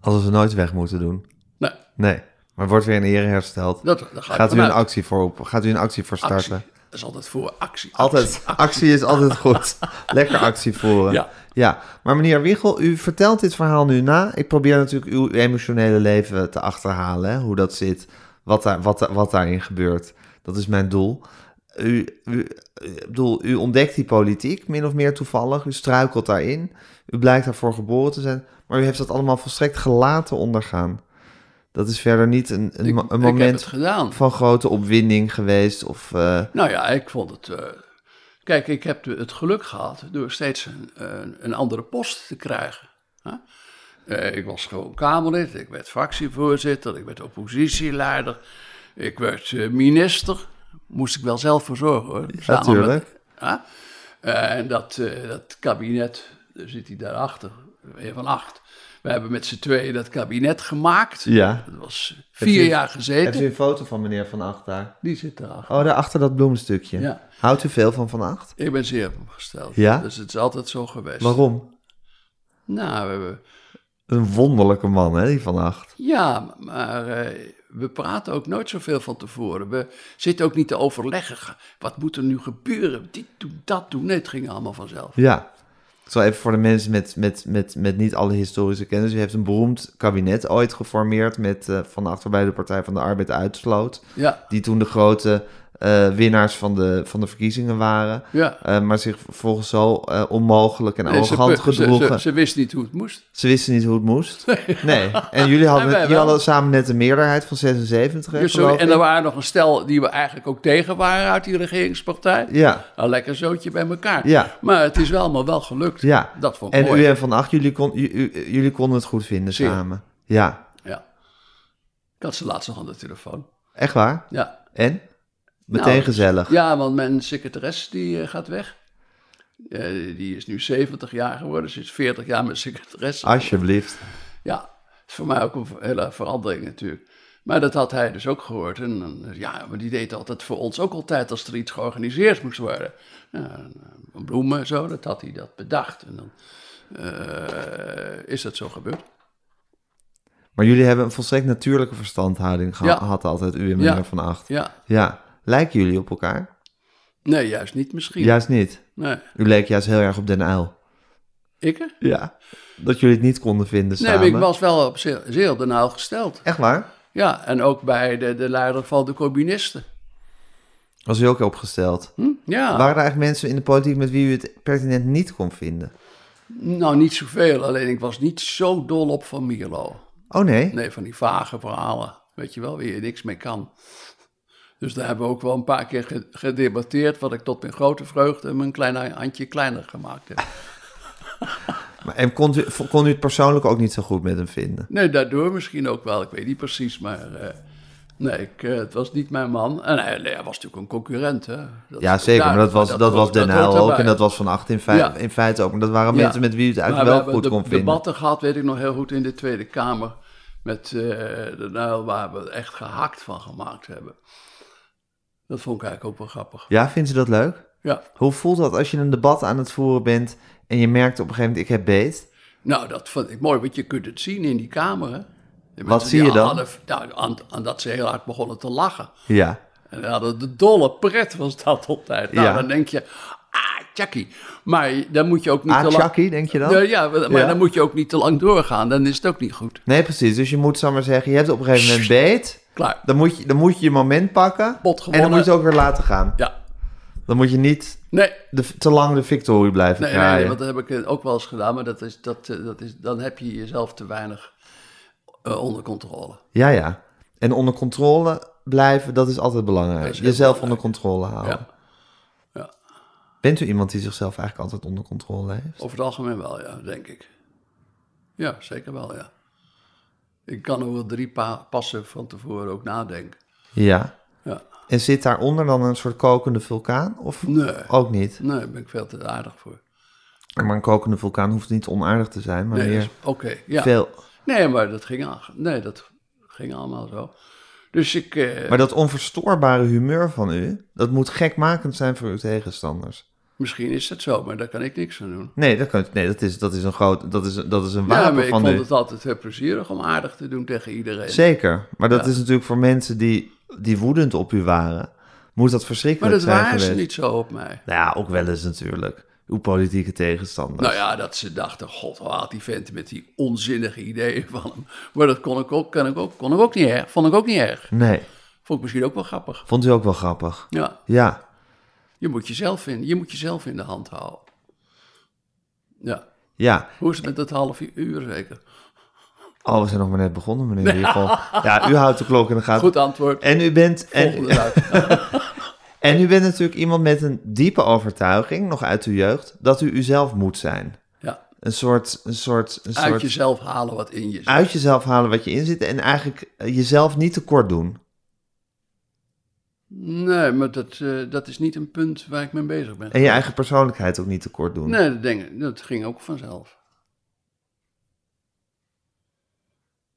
Als we nooit weg moeten doen. nou, Nee. Maar wordt weer in ere hersteld. dat, daar ga ik Gaat u, een vanuit. actie voor op, gaat u een actie voor starten? Actie. Dat is altijd voor actie. Altijd, actie is altijd goed. Lekker actie voeren. Ja. ja. Maar meneer Wiegel, u vertelt dit verhaal nu na. Ik probeer natuurlijk uw emotionele leven te achterhalen. Hè? Hoe dat zit, wat, daar, wat, daar- wat daarin gebeurt. Dat is mijn doel. U, u, ik bedoel, u ontdekt die politiek, min of meer toevallig. U struikelt daarin. U blijkt daarvoor geboren te zijn. Maar u heeft dat allemaal volstrekt gelaten ondergaan. Dat is verder niet een, een, Ik- mo- een ik heb het moment gedaan. van grote opwinding geweest. Of, eh, Nou ja, ik vond het. eh, kijk, ik heb de- het geluk gehad door steeds een, een, een andere post te krijgen. hè. Eh, ik was gewoon Kamerlid, ik werd fractievoorzitter, ik werd oppositieleider, ik werd eh, minister. Moest ik wel zelf voor zorgen hoor. Samen met- natuurlijk. hè. Eh, en dat, eh, dat kabinet, daar zit hij daarachter, weer van acht. We hebben met z'n tweeën dat kabinet gemaakt. Ja. Dat was vier u- jaar Heeft u gezeten. een foto van meneer Van Acht daar? Die zit daarachter. Oh, daar achter dat bloemstukje. Ja. Houdt u veel van Van Acht? Ik ben zeer opgesteld. Ja? Dus het is altijd zo geweest. Waarom? Nou, we hebben- Een wonderlijke man, hè, die Van Acht. ja, maar eh, we praten ook nooit zoveel van tevoren. We zitten ook niet te overleggen. Ga- Wat moet er nu gebeuren? Dit doen, dat doen. Nee, het ging allemaal vanzelf. Ja. Ik zal even voor de mensen met, met, met, met niet alle historische kennis. U heeft een beroemd kabinet ooit geformeerd met eh, Van Acht, waarbij de Partij van de Arbeid uitsloot. Ja, Die toen de grote eh, winnaars van de, van de verkiezingen waren. ja. Eh, maar zich volgens zo eh, onmogelijk en Nee, ze, arrogant ze- ze- gedroegen. ze- ze wist niet hoe het moest. Ze wisten niet hoe het moest. Nee. En jullie hadden, En wij jullie wel. hadden samen net een meerderheid van 76. hè, Dus zo- geloof en ik? er waren nog een stel die we eigenlijk ook tegen waren uit die regeringspartij. Ja. Een lekker zootje bij elkaar. Ja. Maar het is wel allemaal wel gelukt. Ja. Dat vond ik En mooi. u en Van Acht, jullie, kon, u- u- jullie konden het goed vinden Zeer. samen. Ja, Ja. Ik had ze laatst nog aan de telefoon. echt waar. Ja. En? Meteen Nou, gezellig. Ja, want mijn secretares die eh, gaat weg. Eh, die is nu 70 jaar geworden. Ze is 40 jaar mijn secretaresse. Ah. Alsjeblieft. Ja, dat is voor mij ook een hele verandering natuurlijk. Maar dat had hij dus ook gehoord. En, dan, ja, maar die deed altijd voor ons ook altijd als er iets georganiseerd moest worden. Ja, en, eh, bloemen en zo, dat had hij dat bedacht. En dan eh, is dat zo gebeurd. Maar jullie hebben een volstrekt natuurlijke verstandhouding geha- Ja. gehad altijd, u en meneer Ja. Van Acht. Ja, Ja. Lijken jullie op elkaar? nee, juist niet misschien. Juist niet. Nee. U leek juist heel erg op Den Uil. Ik? er? Ja. Dat jullie het niet konden vinden Nee, samen. maar ik was wel op zeer, zeer op de naal gesteld. Echt waar? Ja, en ook bij de, de leider van de communisten. Was u ook opgesteld? Hm? Ja, Waren er eigenlijk mensen in de politiek met wie u het pertinent niet kon vinden? nou niet zoveel, alleen ik was niet zo dol op Van Mierlo. Oh nee? Nee, van die vage verhalen, weet je wel, waar je niks mee kan. Dus daar hebben we ook wel een paar keer ge- gedebatteerd, wat ik tot mijn grote vreugde mijn kleine handje kleiner gemaakt heb. Maar, en kon u, kon u het persoonlijk ook niet zo goed met hem vinden? Nee, daardoor misschien ook wel, ik weet niet precies, maar eh, nee, ik, eh, het was niet mijn man. En hij, nee, hij was natuurlijk een concurrent, hè. Dat Ja, is zeker. Maar dat duidelijk, was, dat was hoort- Den Nou, dat hoort Uyl ook erbij. en dat was Van Acht in, fei- Ja. in feite ook. Maar dat waren Ja. mensen met wie u het Maar eigenlijk we wel hebben goed de- kon vinden. debatten gehad, weet ik nog heel goed, in de Tweede Kamer. Met eh de Nijl, waar we echt gehakt van gemaakt hebben. Dat vond ik eigenlijk ook wel grappig. Ja, vindt u dat leuk? Ja, Hoe voelt dat als je een debat aan het voeren bent en je merkt op een gegeven moment, ik heb beet? nou, dat vond ik mooi, want je kunt het zien in die Kamer. Hè? De Wat mensen zie die je dan? hadden- nou, aan, aan dat ze heel hard begonnen te lachen. Ja. En we hadden de dolle pret was dat altijd. Nou, Ja. dan denk je, ah, Chucky. Maar dan moet je ook niet Ah, te lang... Chucky, denk je dan? Ja, ja, maar Ja. dan moet je ook niet te lang doorgaan. Dan is het ook niet goed. Nee, precies. Dus je moet zomaar zeggen, je hebt op een gegeven moment beet. Klaar. Dan moet je dan moet je, je moment pakken. Pot en dan gewonnen. moet je het ook weer laten gaan. Ja. Dan moet je niet Nee, de, te lang de victorie blijven Nee, nee, draaien. nee, want dat heb ik eh, ook wel eens gedaan, maar dat is, dat, eh, dat is, dan heb je jezelf te weinig eh, onder controle. Ja, ja. En onder controle blijven, dat is altijd belangrijk. is heel Jezelf onder controle houden. Ja. Ja. Bent u iemand die zichzelf eigenlijk altijd onder controle heeft? Over het algemeen wel, ja, denk ik. Ja, zeker wel, ja. Ik kan over drie pa- passen van tevoren ook nadenken. Ja. Ja. En zit daaronder dan een soort kokende vulkaan? Of Nee, ook niet? nee, daar ben ik veel te aardig voor. Maar een kokende vulkaan hoeft niet onaardig te zijn, maar Nee, meer dat is- oké, ja. veel... Nee, maar dat ging, al- nee, dat ging allemaal zo. Dus ik... eh, Maar dat onverstoorbare humeur van u, dat moet gekmakend zijn voor uw tegenstanders. Misschien is dat zo, maar daar kan ik niks aan doen. Nee, dat, kan, nee, dat, is, dat is een groot, dat is, dat is een wapen Ja, maar ik van vond u. het altijd heel plezierig om aardig te doen tegen iedereen. Zeker, maar dat Ja. is natuurlijk voor mensen die, die woedend op u waren, moet dat Maar verschrikkelijk dat zijn waren ze geweest. niet zo op mij. Nou ja, ook wel eens natuurlijk. Uw politieke tegenstander. Nou ja, dat ze dachten, god, wat haalt die vent met die onzinnige ideeën van hem. Maar dat kon ik ook, kan ik ook, kon ik ook niet erg, vond ik ook niet erg. Nee, Vond ik misschien ook wel grappig. vond u ook wel grappig. Ja, Ja, je moet jezelf in, je moet jezelf in de hand houden. Ja, ja. hoe is het met dat half uur zeker? Oh, we zijn nog maar net begonnen, meneer Wiegel. Ja, u houdt de klok in de gaten. Goed antwoord, En u bent... En, volgende dag. en u bent natuurlijk iemand met een diepe overtuiging, nog uit uw jeugd, dat u uzelf moet zijn. Ja, Een soort... Een soort, een uit soort jezelf halen wat in je zit. uit jezelf halen wat je in zit en eigenlijk eh, jezelf niet tekort doen. Nee, maar dat, eh, dat is niet een punt waar ik mee bezig ben. En je eigen persoonlijkheid ook niet tekort doen. Nee, dat, denk ik- dat ging ook vanzelf.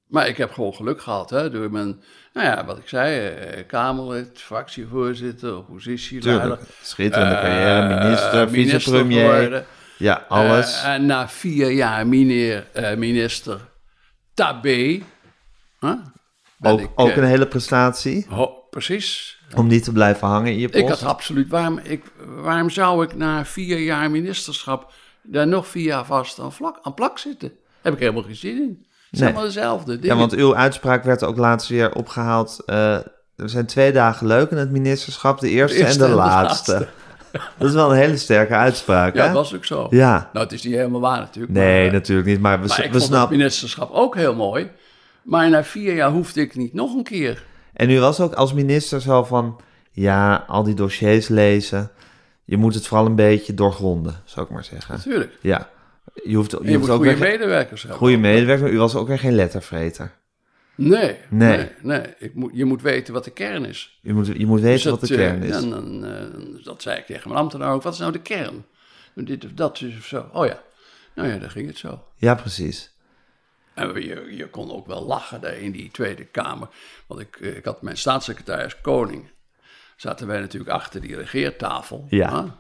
Maar ik heb gewoon geluk gehad, hè, door mijn, nou ja, wat ik zei, eh, Kamerlid, fractievoorzitter, oppositieleider. Tuurlijk. Schitterende carrière, minister, eh, minister vicepremier. geworden. Ja, alles. Eh, en na vier jaar meneer, eh, minister Tabé, hè, ben ook, ik, ook eh, een hele prestatie. ho- precies, Om niet te blijven hangen in je post. Ik had absoluut. Waarom, ik, waarom zou ik na vier jaar ministerschap daar nog vier jaar vast aan, vlak, aan plak zitten? Heb ik helemaal geen zin in. Het is Nee. allemaal dezelfde. ja, dingen. want uw uitspraak werd ook laatst weer opgehaald. eh, er zijn twee dagen leuk in het ministerschap. De eerste, eerste en de en de laatste. Dat is wel een hele sterke uitspraak, Ja, hè? dat was ook zo. Ja. Nou, het is niet helemaal waar natuurlijk. Nee, maar, eh, natuurlijk niet. Maar we, maar s- ik we vond het snappen. ministerschap ook heel mooi. Maar na vier jaar hoefde ik niet nog een keer. En u was ook als minister zo van... Ja, al die dossiers lezen. Je moet het vooral een beetje doorgronden, zou ik maar zeggen. Natuurlijk. En Ja. Je hoeft, je Je, hoeft moet ook goede weer geen- medewerkers hebben. goede medewerker, maar u was ook weer geen lettervreter. Nee, Nee. nee. nee, Ik moet, je moet weten wat de kern is. Je moet, je moet weten Dus wat de eh, kern is. En, dan, eh, dat zei ik tegen mijn ambtenaar ook. Wat is nou de kern? Dit of dat is of zo. Oh ja. Nou ja, daar ging het zo. Ja, precies. En je, je kon ook wel lachen daar in die Tweede Kamer. Want ik, eh, ik had mijn staatssecretaris Koning. Zaten wij natuurlijk achter die regeertafel. Ja.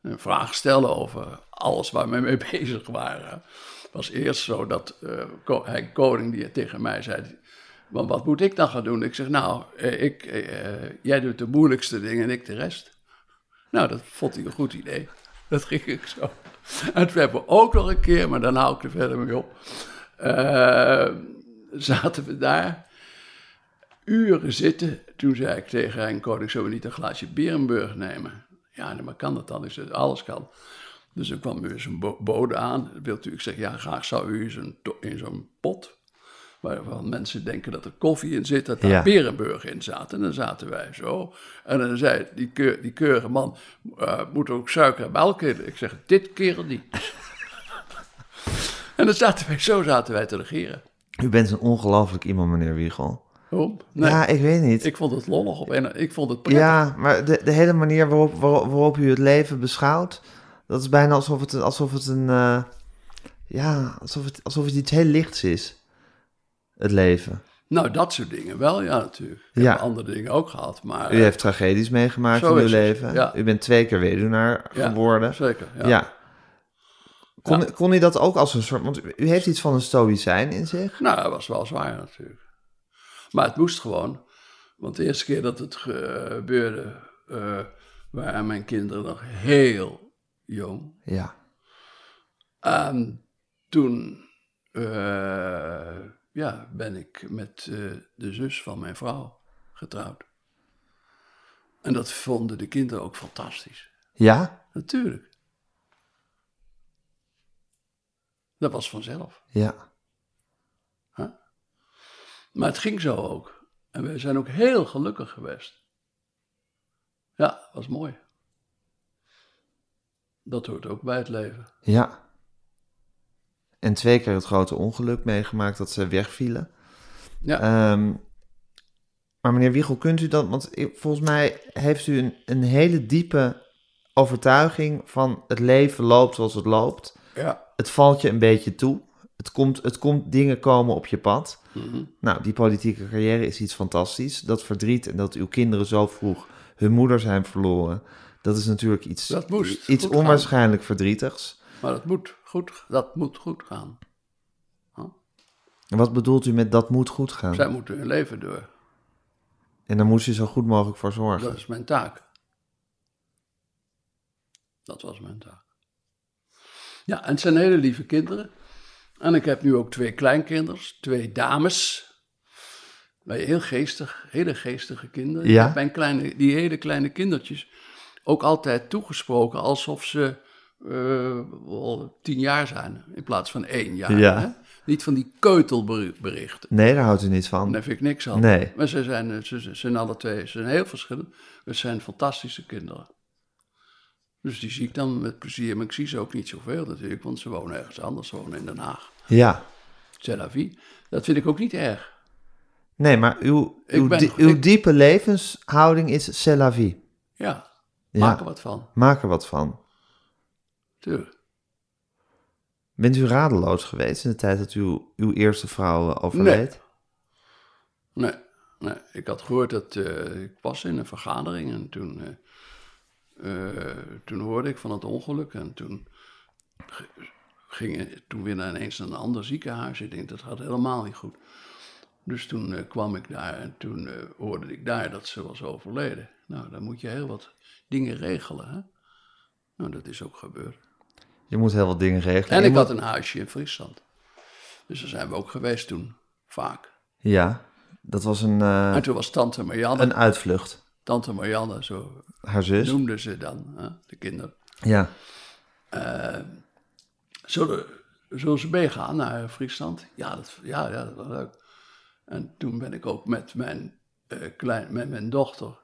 hè? Een vraag stellen over alles waar we mee bezig waren. Het was eerst zo dat eh, Ko- hij, Koning die tegen mij zei... "Maar wat moet ik dan gaan doen? Ik zeg, nou, eh, ik, eh, jij doet de moeilijkste dingen en ik de rest. Nou, dat vond hij een goed idee. Dat ging ik zo. En toen hebben we ook nog een keer, maar dan hou ik er verder mee op. eh, zaten we daar uren zitten. Toen zei ik tegen Hein Koning, zullen we niet een glaasje Berenburg nemen? Ja, nee, maar kan dat dan? Ik zei, alles kan. Dus er kwam weer zo'n bo- bode aan. Wilt u? Ik zeg, ja, graag zou u in zo'n, to- in zo'n pot, waarvan mensen denken dat er koffie in zit, dat daar Ja. Berenburg in zaten. En dan zaten wij zo. En dan zei die, keur, die keurige man, eh, moet er ook suiker en melk in? Ik zeg, dit keer niet. en dan zaten wij, zo zaten wij te regeren. U bent een ongelooflijk iemand, meneer Wiegel. Waarom? Nee, Ja, ik weet niet. ik vond het lollig op en eh, ik vond het prettig. ja, maar de, de hele manier waarop, waarop, waarop u het leven beschouwt, dat is bijna alsof het, een- alsof het een... eh, ja, alsof het, alsof het iets heel lichts is. Het leven. Nou, dat soort dingen wel, ja, natuurlijk. Ik Ja. heb andere dingen ook gehad, maar... U heeft tragedies meegemaakt Eh, zo in uw is het, leven. ja. U bent twee keer weduwnaar Ja, geworden. Zeker, ja. Ja. Kon, Ja. kon u dat ook als een soort... Want u- u heeft iets van een stoïcijn in zich. Nou, dat was wel zwaar natuurlijk. Maar het moest gewoon. Want de eerste keer dat het gebeurde, eh, waren mijn kinderen nog heel jong. Ja. En toen eh, ja, ben ik met eh, de zus van mijn vrouw getrouwd. En dat vonden de kinderen ook fantastisch. Ja? Natuurlijk. Dat was vanzelf. Ja. Maar het ging zo ook. En we zijn ook heel gelukkig geweest. Ja, was mooi. Dat hoort ook bij het leven. Ja. En twee keer het grote ongeluk meegemaakt dat ze wegvielen. Ja. Ehm, maar meneer Wiegel, kunt u dat... Want ik- volgens mij heeft u een, een hele diepe overtuiging van het leven loopt zoals het loopt. Ja. Het valt je een beetje toe. het komt, het komt, dingen komen op je pad. Mhm. Nou, die politieke carrière is iets fantastisch. Dat verdriet en dat uw kinderen zo vroeg hun moeder zijn verloren, dat is natuurlijk iets, Dat moest iets goed gaan. onwaarschijnlijk verdrietigs. Maar dat moet goed, dat moet goed gaan. En wat bedoelt u met dat moet goed gaan? Zij moeten hun leven door. En daar moest je zo goed mogelijk voor zorgen. Dat is mijn taak. Dat was mijn taak. Ja, en het zijn hele lieve kinderen. En ik heb nu ook twee kleinkinders, twee dames. Maar heel geestig, hele geestige kinderen. Ja. Ik heb mijn kleine, die hele kleine kindertjes ook altijd toegesproken alsof ze eh, wel tien jaar zijn in plaats van één jaar. Ja. hè? Niet van die keutelberichten. Nee, daar houdt u niet van. Daar vind ik niks aan. Nee. Maar ze zijn, eh, ze, ze zijn alle twee, ze zijn heel verschillend. We zijn fantastische kinderen. Dus die zie ik dan met plezier. Maar ik zie ze ook niet zoveel natuurlijk, want ze wonen ergens anders. Ze wonen in Den Haag, Ja. Tel Aviv. Dat vind ik ook niet erg. Nee, maar uw, Ik uw, ben- die- uw ik- diepe levenshouding is c'est la vie. Ja, Ja. maak er wat van. Maak er wat van. Tuurlijk. Bent u radeloos geweest in de tijd dat uw, uw eerste vrouw eh, overleed? Nee, nee, ik had gehoord dat... eh, ik was in een vergadering en toen... eh, eh, toen hoorde ik van het ongeluk en toen... g- Ging, toen weer naar ineens naar een ander ziekenhuis. Ik denk, dat gaat helemaal niet goed. Dus toen eh, kwam ik daar en toen eh, hoorde ik daar dat ze was overleden. Nou, dan moet je heel wat dingen regelen, hè? Nou, dat is ook gebeurd. Je moet heel wat dingen regelen. En Je ik moet- had een huisje in Friesland. Dus daar zijn we ook geweest toen, vaak. Ja, dat was een, eh, En toen was tante Marianne... een uitvlucht. Tante Marianne, zo Haar zus? noemden ze dan, hè, de kinderen. Ja. Zullen, zullen ze meegaan naar Friesland? Ja dat, ja, ja, dat was leuk. En toen ben ik ook met mijn, eh, klein, met mijn dochter.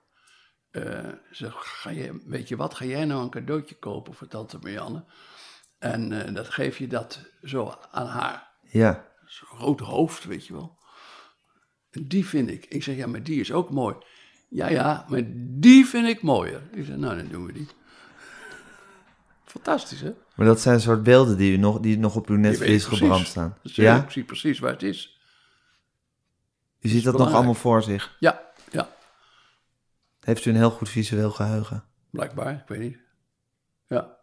eh ze, ga je, weet je wat, ga jij nou een cadeautje kopen voor tante Marianne? En eh, dat geef je dat zo aan haar. Ja. Zo'n groot hoofd, weet je wel. En die vind ik. Ik zeg, ja, maar die is ook mooi. Ja, ja, maar die vind ik mooier. Die zei, nou, dan doen we die. Fantastisch, hè? Maar dat zijn soort beelden die, u nog, die nog op uw weet netvlies precies. gebrand staan. Dus, eh, Ja? Ik zie precies waar het is. U ziet dat nog belangrijk. allemaal voor zich. Ja, ja, Heeft u een heel goed visueel geheugen. blijkbaar. Ik weet niet. Ja,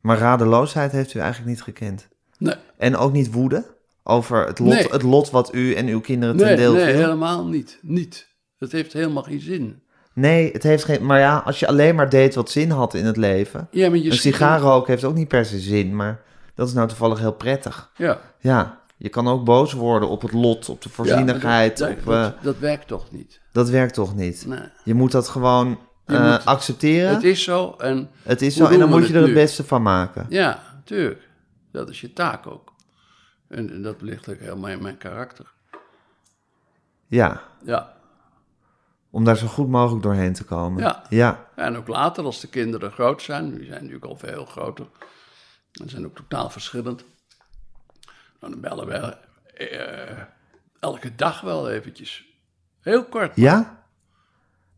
Maar radeloosheid heeft u eigenlijk niet gekend. nee, En ook niet woede over het lot, Nee. het lot wat u en uw kinderen ten nee, deel nee viel? helemaal niet. Niet. Dat heeft helemaal geen zin. Nee, het heeft geen... Maar ja, als je alleen maar deed wat zin had in het leven... Ja, maar je Een sigaar roken heeft ook niet per se zin, maar dat is nou toevallig heel prettig. Ja. Ja, je kan ook boos worden op het lot, op de voorzienigheid. Ja, dat, maar dat, op, eh, dat, dat werkt toch niet? dat werkt toch niet? Nee. Je moet dat gewoon eh, moet- accepteren. Het is zo en Het is Hoe zo, en dan doen we moet je er het het nu? beste van maken. Ja, natuurlijk. Dat is je taak ook. En, en dat ligt ook helemaal in mijn karakter. Ja, Ja. om daar zo goed mogelijk doorheen te komen. Ja. ja. En ook later, als de kinderen groot zijn, die zijn natuurlijk al veel groter. En zijn ook totaal verschillend. Nou, dan bellen we eh, elke dag wel eventjes. Heel kort. Ja?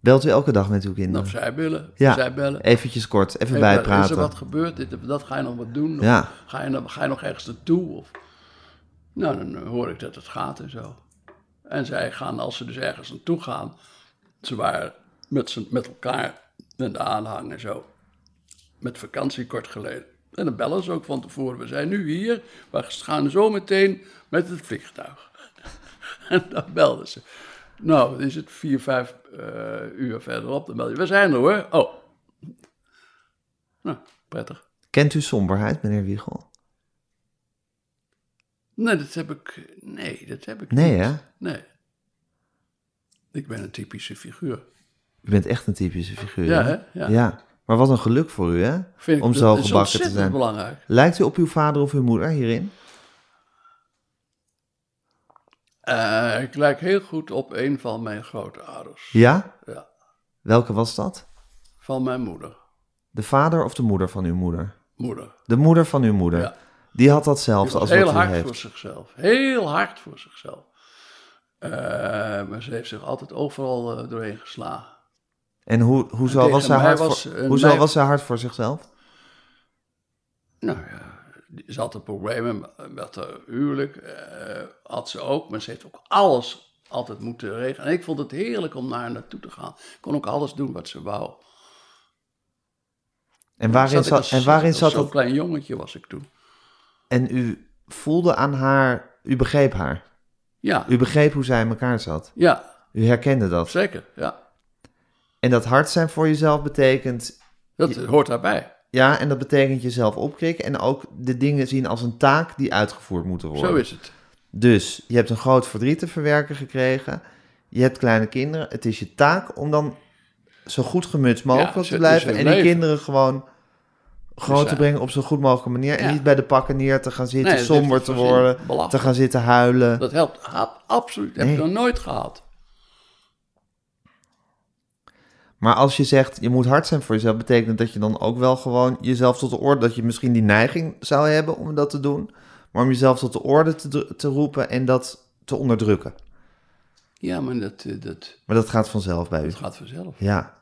Belt u elke dag met uw Of kinderen? zij bellen, Ja, zij bellen. eventjes kort, even Hey, Is er bijpraten. wat gebeurd? Dit, of dat ga je nog wat doen? Of Ja. ga, je, nog- ga je nog ergens naartoe? Of... Nou, dan hoor ik dat het gaat en zo. En zij gaan, als ze dus ergens naartoe gaan, ze waren met, z'n- met elkaar in de aanhang en zo. Met vakantie kort geleden. En dan bellen ze ook van tevoren. We zijn nu hier, maar we gaan zo meteen met het vliegtuig. En dan belden ze. Nou, wat is het? Vier, vijf eh, uur verderop. Dan bel je. We zijn er hoor. Oh. Nou, prettig. Kent u somberheid, meneer Wiegel? Nee, dat heb ik. Nee, dat heb ik Nee, niet. hè? Nee. Ik ben een typische figuur. U bent echt een typische figuur. Ja, hè? hè? Ja. Maar wat een geluk voor u, hè? Vind ik Om dat- zo dat is gebakken te zijn. ontzettend belangrijk. Lijkt u op uw vader of uw moeder hierin? Eh, ik lijk heel goed op een van mijn grootouders. Ja? Ja. Welke was dat? Van mijn moeder. De vader of de moeder van uw moeder? Moeder. De moeder van uw moeder. Ja. Die had datzelfde Die was als heel wat u hard heeft. voor zichzelf. Heel hard voor zichzelf. Eh, maar ze heeft zich altijd overal eh, doorheen geslagen. En hoe, hoezo, Tegen was ze, mij hard was, voor, eh, hoezo mij- was ze hard voor zichzelf? Nou ja, Ze had een probleem met haar huwelijk, eh, had ze ook, maar ze heeft ook alles altijd moeten regelen. En ik vond het heerlijk om daar naartoe te gaan. Ik kon ook alles doen wat ze wou. En waarin Zat ik dus zat, als- en waarin als zat Zo'n dat? klein jongetje was ik toen. En u voelde aan haar, u begreep haar. Ja, U begreep hoe zij in elkaar zat. ja U herkende dat. zeker. Ja. En dat hard zijn voor jezelf betekent, Dat hoort daarbij. ja, en dat betekent jezelf opkrikken en ook de dingen zien als een taak die uitgevoerd moeten worden. Zo is het. Dus je hebt een groot verdriet te verwerken gekregen. Je hebt kleine kinderen. Het is je taak om dan zo goed gemutst mogelijk Ja, het te is blijven. hun En die leven. kinderen gewoon groot te zijn. brengen op zo goed mogelijke manier. En Ja. niet bij de pakken neer te gaan zitten, Nee, dat heeft somber het te voorzien. worden, Belachelijk. te gaan zitten huilen. Dat helpt ab- absoluut. Dat heb ik Nee. nog nooit gehad. Maar als je zegt, je moet hard zijn voor jezelf, betekent dat je dan ook wel gewoon jezelf tot de orde, dat je misschien die neiging zou hebben om dat te doen, maar om jezelf tot de orde te, dru- te roepen en dat te onderdrukken. Ja, maar dat, eh, dat, Maar dat gaat vanzelf bij u. dat gaat vanzelf. Ja.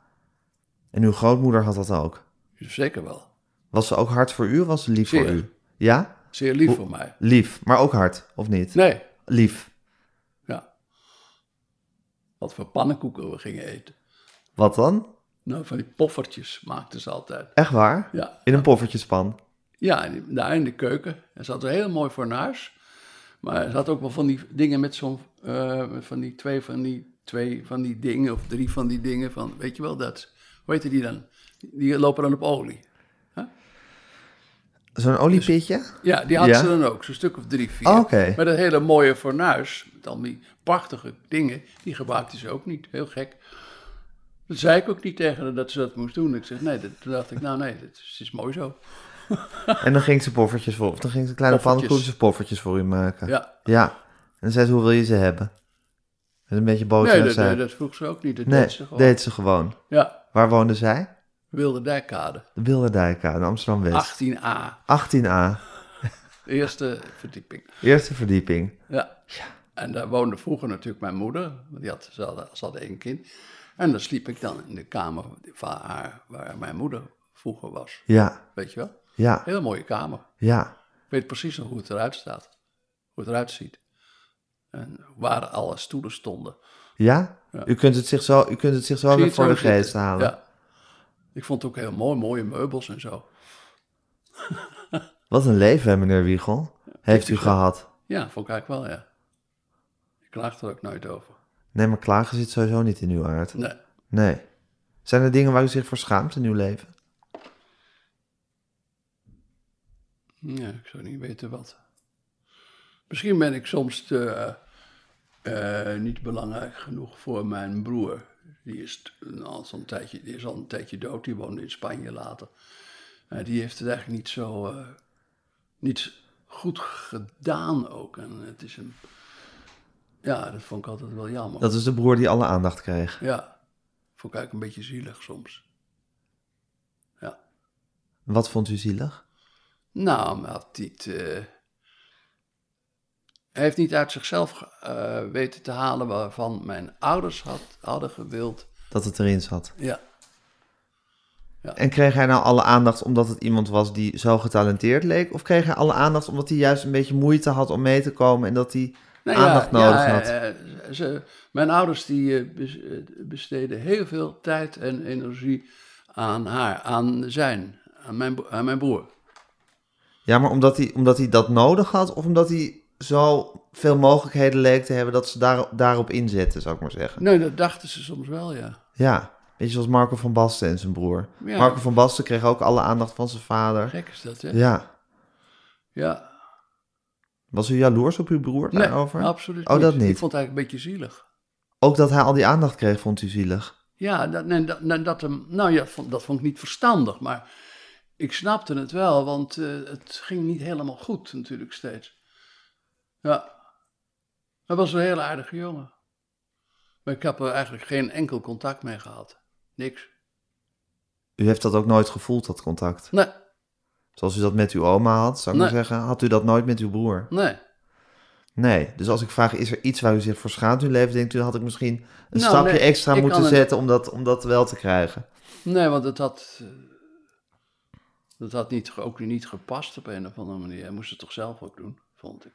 En uw grootmoeder had dat ook. Zeker wel. Was ze ook hard voor u of was ze lief Zeer. voor u? Ja? Zeer lief voor mij. Lief, maar ook hard, of niet? Nee, Lief. ja. Wat voor pannenkoeken we gingen eten. Wat dan? Nou, van die poffertjes maakten ze altijd. Echt waar? Ja, In een poffertjespan. ja en die- daar in de keuken. En ze had een heel mooi fornuis. Maar ze had ook wel van die dingen met zo'n... eh, van die twee van die, twee van die dingen of drie van die dingen. Van, weet je wel, dat... Hoe heette die dan? Die lopen dan op olie. Zo'n oliepitje? Ja, die had Ja? ze dan ook, zo'n stuk of drie, vier. Oh, oké. Met een hele mooie fornuis, met al die prachtige dingen, die gebruikte ze ook niet. Heel gek. Dat zei ik ook niet tegen haar dat ze dat moest doen. Ik zeg, nee, dat, toen dacht ik, nou nee, dat is, is mooi zo. En dan ging ze poffertjes voor, of dan ging ze kleine Poffertjes. pannenkoekjes of poffertjes voor u maken. Ja. Ja. En dan zei ze, hoe wil je ze hebben? Met een beetje boter Nee, en dat, suiker. dat, dat vroeg ze ook niet. Dat nee, deed ze gewoon. deed ze gewoon. Ja, Waar woonde zij? Wilde Dijkkade, De Bilderdijk aan, Amsterdam-West. 18a, 18a, de eerste verdieping. eerste verdieping. Ja. En daar woonde vroeger natuurlijk mijn moeder. want Die had, ze, hadden, ze hadden één kind. En dan sliep ik dan in de kamer van haar, waar mijn moeder vroeger was. Ja, Weet je wel? ja, Heel mooie kamer. ja. Ik weet precies nog hoe het eruit staat. Hoe het eruit ziet. En waar alle stoelen stonden. Ja? Ja. U kunt het zich zo, u kunt het zich zo Zie je weer het voor zo de zitten? geest halen. Ja. Ik vond het ook heel mooi, mooie meubels en zo. Wat een leven, hè, meneer Wiegel. Heeft u gehad. Ja, vond ik eigenlijk wel, ja. Ik klaag er ook nooit over. Nee, maar klagen zit sowieso niet in uw aard. Nee. Nee. Zijn er dingen waar u zich voor schaamt in uw leven? Ja, ik zou niet weten wat. Misschien ben ik soms te, eh, eh, niet belangrijk genoeg voor mijn broer. Die is, t- nou, al zo'n tijdje, die is al een tijdje dood, die woonde in Spanje later. Eh, die heeft het eigenlijk niet zo eh, niet goed gedaan ook. En het is een. Ja, dat vond ik altijd wel jammer. Dat is de broer die alle aandacht kreeg. Ja, vond ik eigenlijk een beetje zielig soms. Ja. Wat vond u zielig? Nou, maar hij had niet, eh, hij heeft niet uit zichzelf eh, weten te halen waarvan mijn ouders had, hadden gewild. Dat het erin zat. Ja, En kreeg hij nou alle aandacht omdat het iemand was die zo getalenteerd leek? Of kreeg hij alle aandacht omdat hij juist een beetje moeite had om mee te komen en dat hij Nou ja, aandacht nodig ja, had? eh, ze- mijn ouders die eh, bes- eh, besteden heel veel tijd en energie aan haar, aan zijn, aan mijn, bro- aan mijn broer. Ja, maar omdat hij, omdat hij dat nodig had of omdat hij zo veel mogelijkheden leek te hebben dat ze daar, daarop inzetten, zou ik maar zeggen. Nee, dat dachten ze soms wel, ja. Ja, beetje zoals Marco van Basten en zijn broer. Ja. Marco van Basten kreeg ook alle aandacht van zijn vader. Gek is dat, hè? Ja. Ja. Was u jaloers op uw broer Nee, daarover? absoluut Oh, dat Ik niet. vond het eigenlijk een beetje zielig. Ook dat hij al die aandacht kreeg, vond u zielig. Ja, dat, nee, dat, nee, dat hem, nou ja, vond- dat vond ik niet verstandig, maar ik snapte het wel, want eh, het ging niet helemaal goed natuurlijk steeds. Ja, hij was een heel aardige jongen. Maar ik heb er eigenlijk geen enkel contact mee gehad. Niks. U heeft dat ook nooit gevoeld, dat contact. Nee, Zoals u dat met uw oma had, zou ik Nee. maar zeggen, had u dat nooit met uw broer. nee. Nee, dus als ik vraag, is er iets waar u zich voor schaamt in uw leven, denkt u, had ik misschien een Nou, stapje nee, extra ik moeten kan het- zetten om dat, om dat wel te krijgen. Nee, want het had. eh, Dat had niet, ook niet gepast op een of andere manier. Hij moest het toch zelf ook doen, vond ik.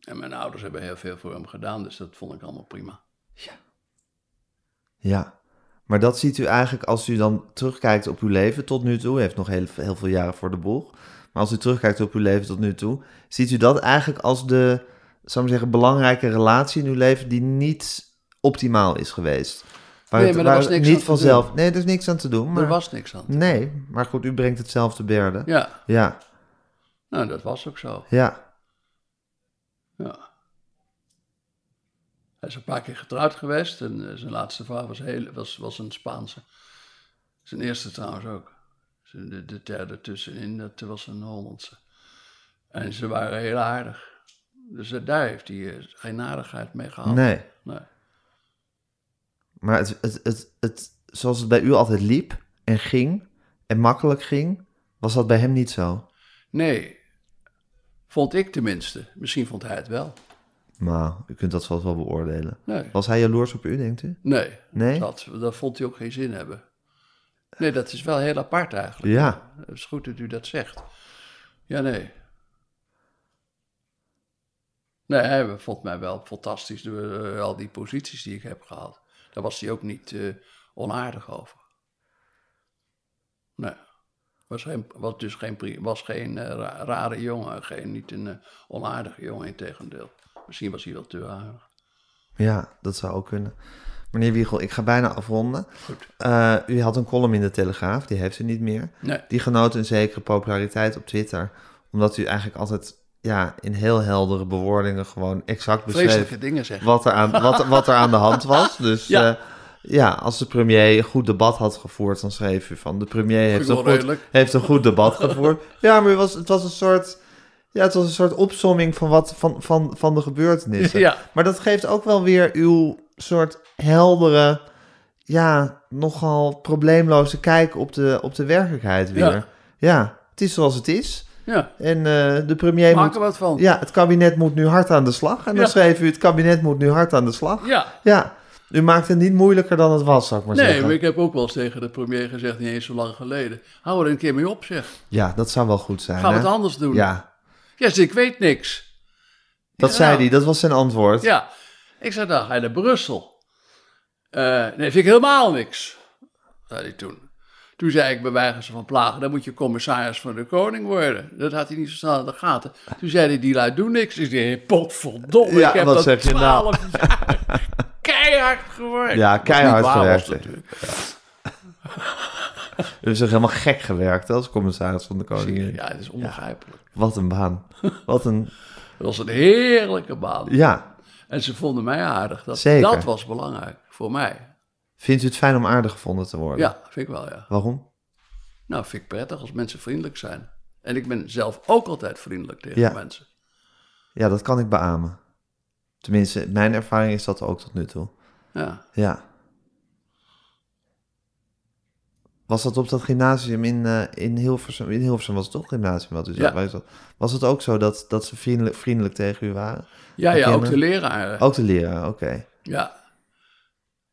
En mijn ouders hebben heel veel voor hem gedaan, dus dat vond ik allemaal prima. Ja. Ja. Maar dat ziet u eigenlijk als u dan terugkijkt op uw leven tot nu toe. U heeft nog heel, heel veel jaren voor de boeg. Maar als u terugkijkt op uw leven tot nu toe, ziet u dat eigenlijk als de, zou ik zeggen, belangrijke relatie in uw leven die niet optimaal is geweest. Waar Nee, het- maar er waar was niks niet aan te vanzelf. doen. Nee, er is niks aan te doen. Maar, Er was niks aan. Nee, maar goed, u brengt het zelf te berden. Ja, Ja, nou dat was ook zo. ja. Ja. Hij is een paar keer getrouwd geweest en eh, zijn laatste vrouw was, heel, was, was een Spaanse. Zijn eerste trouwens ook. Zijn- De, de derde tussenin, dat was een Hollandse. En ze waren heel aardig. Dus eh, daar heeft hij eh, geen aardigheid mee gehad. Nee. nee. Maar het, het, het, het, zoals het bij u altijd liep en ging en makkelijk ging, was dat bij hem niet zo. Nee. Vond ik tenminste. Misschien vond hij het wel. Maar u kunt dat vast wel beoordelen. Nee. Was hij jaloers op u, denkt u? Nee. Nee? Dat, dat vond hij ook geen zin hebben. Nee, dat is wel heel apart eigenlijk. Ja. Het is goed dat u dat zegt. Ja, nee. Nee, hij vond mij wel fantastisch door eh, al die posities die ik heb gehad. Daar was hij ook niet eh, onaardig over. Nee. Was, geen, was dus geen, pri- was geen eh, ra- rare jongen, geen, niet een eh, onaardige jongen, integendeel. Misschien was hij wel te aardig. Ja, dat zou ook kunnen. Meneer Wiegel, ik ga bijna afronden. Goed. Eh, u had een column in de Telegraaf, die heeft u niet meer. Nee. Die genoot een zekere populariteit op Twitter, omdat u eigenlijk altijd ja, in heel heldere bewoordingen gewoon exact beschreef Vreselijke dingen zeggen. wat er aan, wat, wat er aan de hand was. Dus ja. Ja. ja, als de premier een goed debat had gevoerd, dan schreef u van de premier heeft een wel goed, redelijk. heeft een goed debat gevoerd. Ja, maar het was, het was een soort. Ja, het was een soort opsomming van, wat, van, van, van de gebeurtenissen. Ja. Maar dat geeft ook wel weer uw soort heldere, ja, nogal probleemloze kijk op de, op de werkelijkheid weer. Ja. Ja. het is zoals het is. Ja, En eh, de premier maak moet er wat van. ja, het kabinet moet nu hard aan de slag. En dan Ja. schreef u, het kabinet moet nu hard aan de slag. ja. Ja, u maakt het niet moeilijker dan het was, zou ik maar Nee, zeggen. maar ik heb ook wel eens tegen de premier gezegd, niet eens zo lang geleden. Hou er een keer mee op, zeg. Ja, dat zou wel goed zijn. Gaan we hè? het anders doen? Ja, Ja, ze- ik weet niks. dat Ja. zei hij, dat was zijn antwoord. Ja. Ik zei, dan ga je naar Brussel. Eh, nee, vind ik helemaal niks. Zei hij toen. Toen zei ik bij wijze van plagen, dan moet je commissaris van de koning worden. Dat had hij niet zo snel in de gaten. Toen zei hij, die lui doen niks. Ik zei, potverdomme, Ja, ik heb wat dat zeg je nou? 12 jaar keihard gewerkt. Ja, Wat niet keihard waar was gewerkt. natuurlijk. U heeft zich helemaal gek gewerkt hè, als commissaris van de Koningin. Ja, het is onbegrijpelijk. Wat een baan. Wat een... Het was een heerlijke baan. Ja, En ze vonden mij aardig. Dat, Zeker. dat was belangrijk voor mij. vindt u het fijn om aardig gevonden te worden? Ja, vind ik wel, ja. Waarom? Nou, vind ik prettig als mensen vriendelijk zijn. En ik ben zelf ook altijd vriendelijk tegen Ja. mensen. Ja, dat kan ik beamen. Tenminste, mijn ervaring is dat ook tot nu toe. Ja. Ja. Was dat op dat gymnasium in, eh, in Hilversum? In Hilversum was het toch gymnasium wat u zat, Ja. waar u zat. Was het ook zo dat, dat ze vriendelijk, vriendelijk tegen u waren? Ja, ja, ook kinderen? de leraren. Ook de leraar, oké. Ja.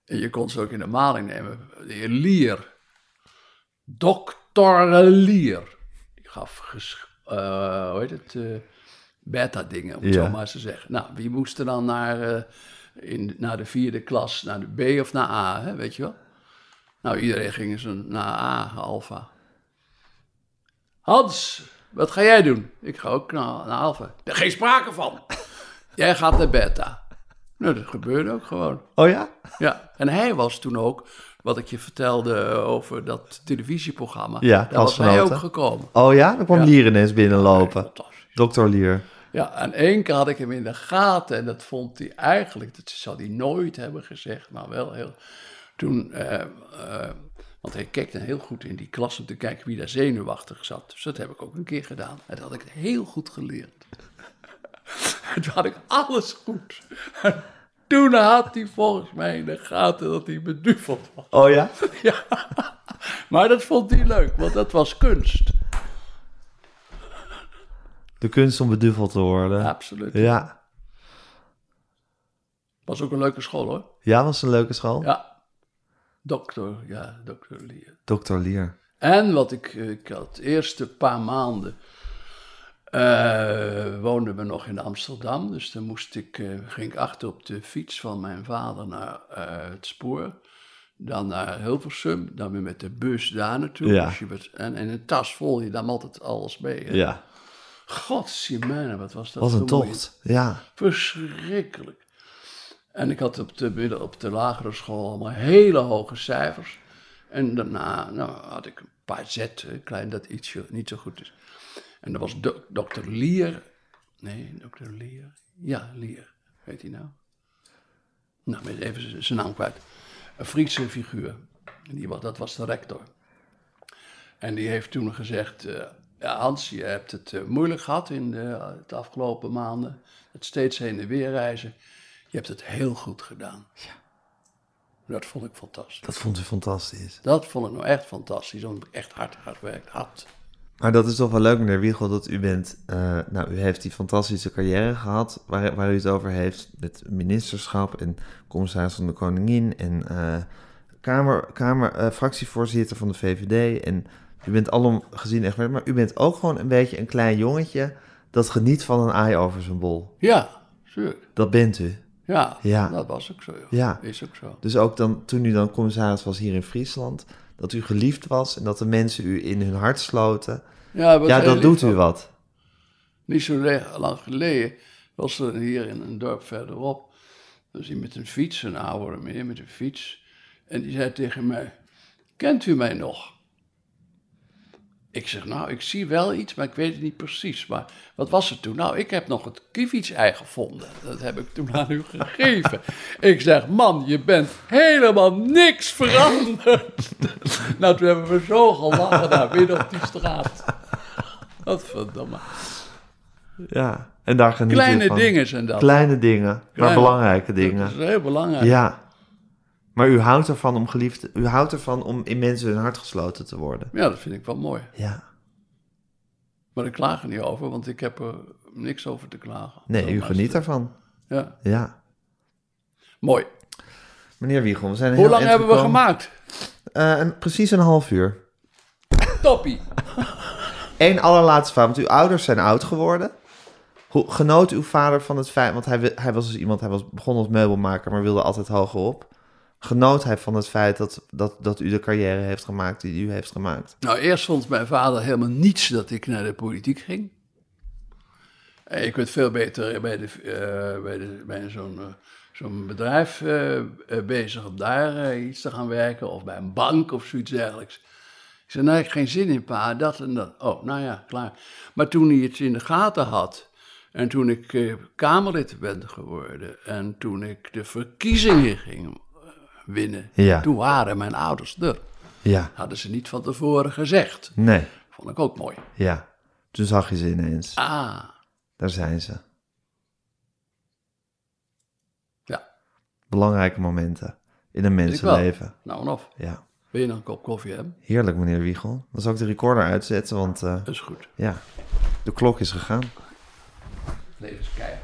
En je kon ze ook in de maling nemen. De heer Lier. Dokter Lier. Die gaf, ges- eh, hoe heet het, eh, beta-dingen, om het Ja. zo maar eens te zeggen. Nou, wie moest er dan naar, eh, in, naar de vierde klas, naar de B of naar A, hè, weet je wel? Nou, iedereen ging eens een- naar A, alfa. Hans, wat ga jij doen? Ik ga ook naar, naar alfa. Daar geen sprake van. Jij gaat naar beta. Nou, dat gebeurde ook gewoon. Oh ja? Ja, en hij was toen ook, wat ik je vertelde over dat televisieprogramma. Ja, daar was hij klasgenoten. ook gekomen. Oh ja? Dan kwam Ja. Lier ineens binnenlopen. Fantastisch. Dokter Lier. Ja, en één keer had ik hem in de gaten en dat vond hij eigenlijk, dat zou hij nooit hebben gezegd, maar wel heel. Toen, eh, eh, want hij keek dan heel goed in die klas om te kijken wie daar zenuwachtig zat. Dus dat heb ik ook een keer gedaan en dat had ik heel goed geleerd. En toen had ik alles goed. En toen had hij volgens mij in de gaten dat hij beduveld was. Oh ja? Ja. Maar dat vond hij leuk, want dat was kunst. De kunst om beduveld te worden. Ja. Absoluut. Ja, Was ook een leuke school hoor. was een leuke school. Ja. Dokter, ja, dokter Lier. Dokter Lier. En wat ik, ik had de eerste paar maanden eh, woonden we nog in Amsterdam. Dus dan moest ik, eh, ging ik achter op de fiets van mijn vader naar eh, het spoor. Dan naar Hilversum, dan weer met de bus daar naartoe. Ja. Dus je werd- en in een tas vol je nam altijd alles mee. hè. Ja. Godzijdank, wat was dat Wat een vermoeiend. tocht. Ja. Verschrikkelijk. En ik had op de, midden- op de lagere school allemaal hele hoge cijfers. En daarna nou, had ik een paar zetten, klein dat ietsje niet zo goed is. En dat was do- dokter Lier. Nee, dokter Lier. Ja, Lier. Weet hij nou? Nou, ik ben even z- zijn naam kwijt. Een Friese figuur. En Die, wa- dat was de rector. En die heeft toen gezegd: eh, ja, Hans, je hebt het eh, moeilijk gehad in de, de afgelopen maanden. Het steeds heen en weer reizen. Je hebt het heel goed gedaan. Dat vond ik fantastisch. Dat vond u fantastisch. Dat vond ik nou echt fantastisch, omdat ik echt hard gewerkt had. Maar dat is toch wel leuk, meneer Wiegel, dat u bent... eh, nou, u heeft die fantastische carrière gehad waar, waar u het over heeft... met ministerschap en commissaris van de Koningin... en eh, kamer, kamer, eh, fractievoorzitter van de VVD. En u bent alom gezien echt... Maar u bent ook gewoon een beetje een klein jongetje... dat geniet van een aai over zijn bol. Ja, tuurlijk. Dat bent u. Ja, Ja. dat was ook zo. joh. Ja. Is ook zo. Dus ook dan, toen u dan commissaris was hier in Friesland... dat u geliefd was en dat de mensen u in hun hart sloten. Ja, wat ja, heel dat doet lief u wat. Niet zo le- lang geleden was er hier in een dorp verderop. Dus die met een fiets, een oude meneer met een fiets. En die zei tegen mij: Kent u mij nog? Ik zeg: Nou, ik zie wel iets, maar ik weet het niet precies. Maar wat was het toen? Nou, ik heb nog het kievitsei gevonden. Dat heb ik toen aan u gegeven. ik zeg: Man, je bent helemaal niks veranderd. nou, toen hebben we zo gelachen daar midden op die straat. Wat verdomme. Ja, en daar geniet u Kleine van. dingen zijn dat. Kleine dingen, maar Kleine- belangrijke Dat dingen. is heel belangrijk. Ja. Maar u houdt ervan om geliefd... U houdt ervan om in mensen hun hart gesloten te worden. Ja, dat vind ik wel mooi. Ja. Maar ik klaag er niet over, want ik heb er niks over te klagen. Nee, Zo, u maar- geniet ervan. Ja, Ja. mooi. Meneer Wiegel, we zijn heel Hoe lang eind hebben we gekomen. gemaakt? Eh, een- precies een half uur. Toppie. Eén allerlaatste vraag, want uw ouders zijn oud geworden. Hoe genoot uw vader van het feit... Want hij, wi- hij was dus iemand, hij was, begon als meubelmaker, maar wilde altijd hoger op. Genoot hij van het feit dat, dat, dat u de carrière heeft gemaakt die u heeft gemaakt? Nou, eerst vond mijn vader helemaal niets dat ik naar de politiek ging. En je kunt veel beter bij, de, eh, bij, de, bij zo'n, eh, zo'n bedrijf eh, eh, bezig om daar eh, iets te gaan werken. Of bij een bank of zoiets dergelijks. Ik zei, nou, ik heb geen zin in pa, dat en dat. Oh, nou ja, klaar. Maar toen hij het in de gaten had... en toen ik eh, Kamerlid ben geworden... en toen ik de verkiezingen ging eh, winnen... Ja. toen waren mijn ouders er. Ja. Hadden ze niet van tevoren gezegd. Nee. Vond ik ook mooi. Ja, toen zag je ze ineens. Ah, Daar zijn ze. ja. Belangrijke momenten in een ik wel. mensenleven. Nou en of. Ja, Wil je nog een kop koffie hebben? heerlijk meneer Wiegel. Dan zal ik de recorder uitzetten, want eh, Dat is goed. ja, de klok is gegaan. Nee, dat is keihard.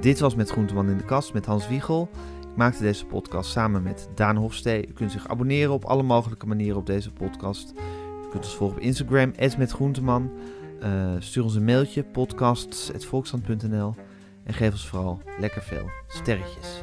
Dit was Met Groenteman in de Kast met Hans Wiegel. Ik maakte deze podcast samen met Daan Hofstee. U kunt zich abonneren op alle mogelijke manieren op deze podcast. U kunt ons volgen op Instagram, @metgroenteman. Eh, stuur ons een mailtje, podcasts.volkstand.nl. En geef ons vooral lekker veel sterretjes.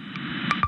Ik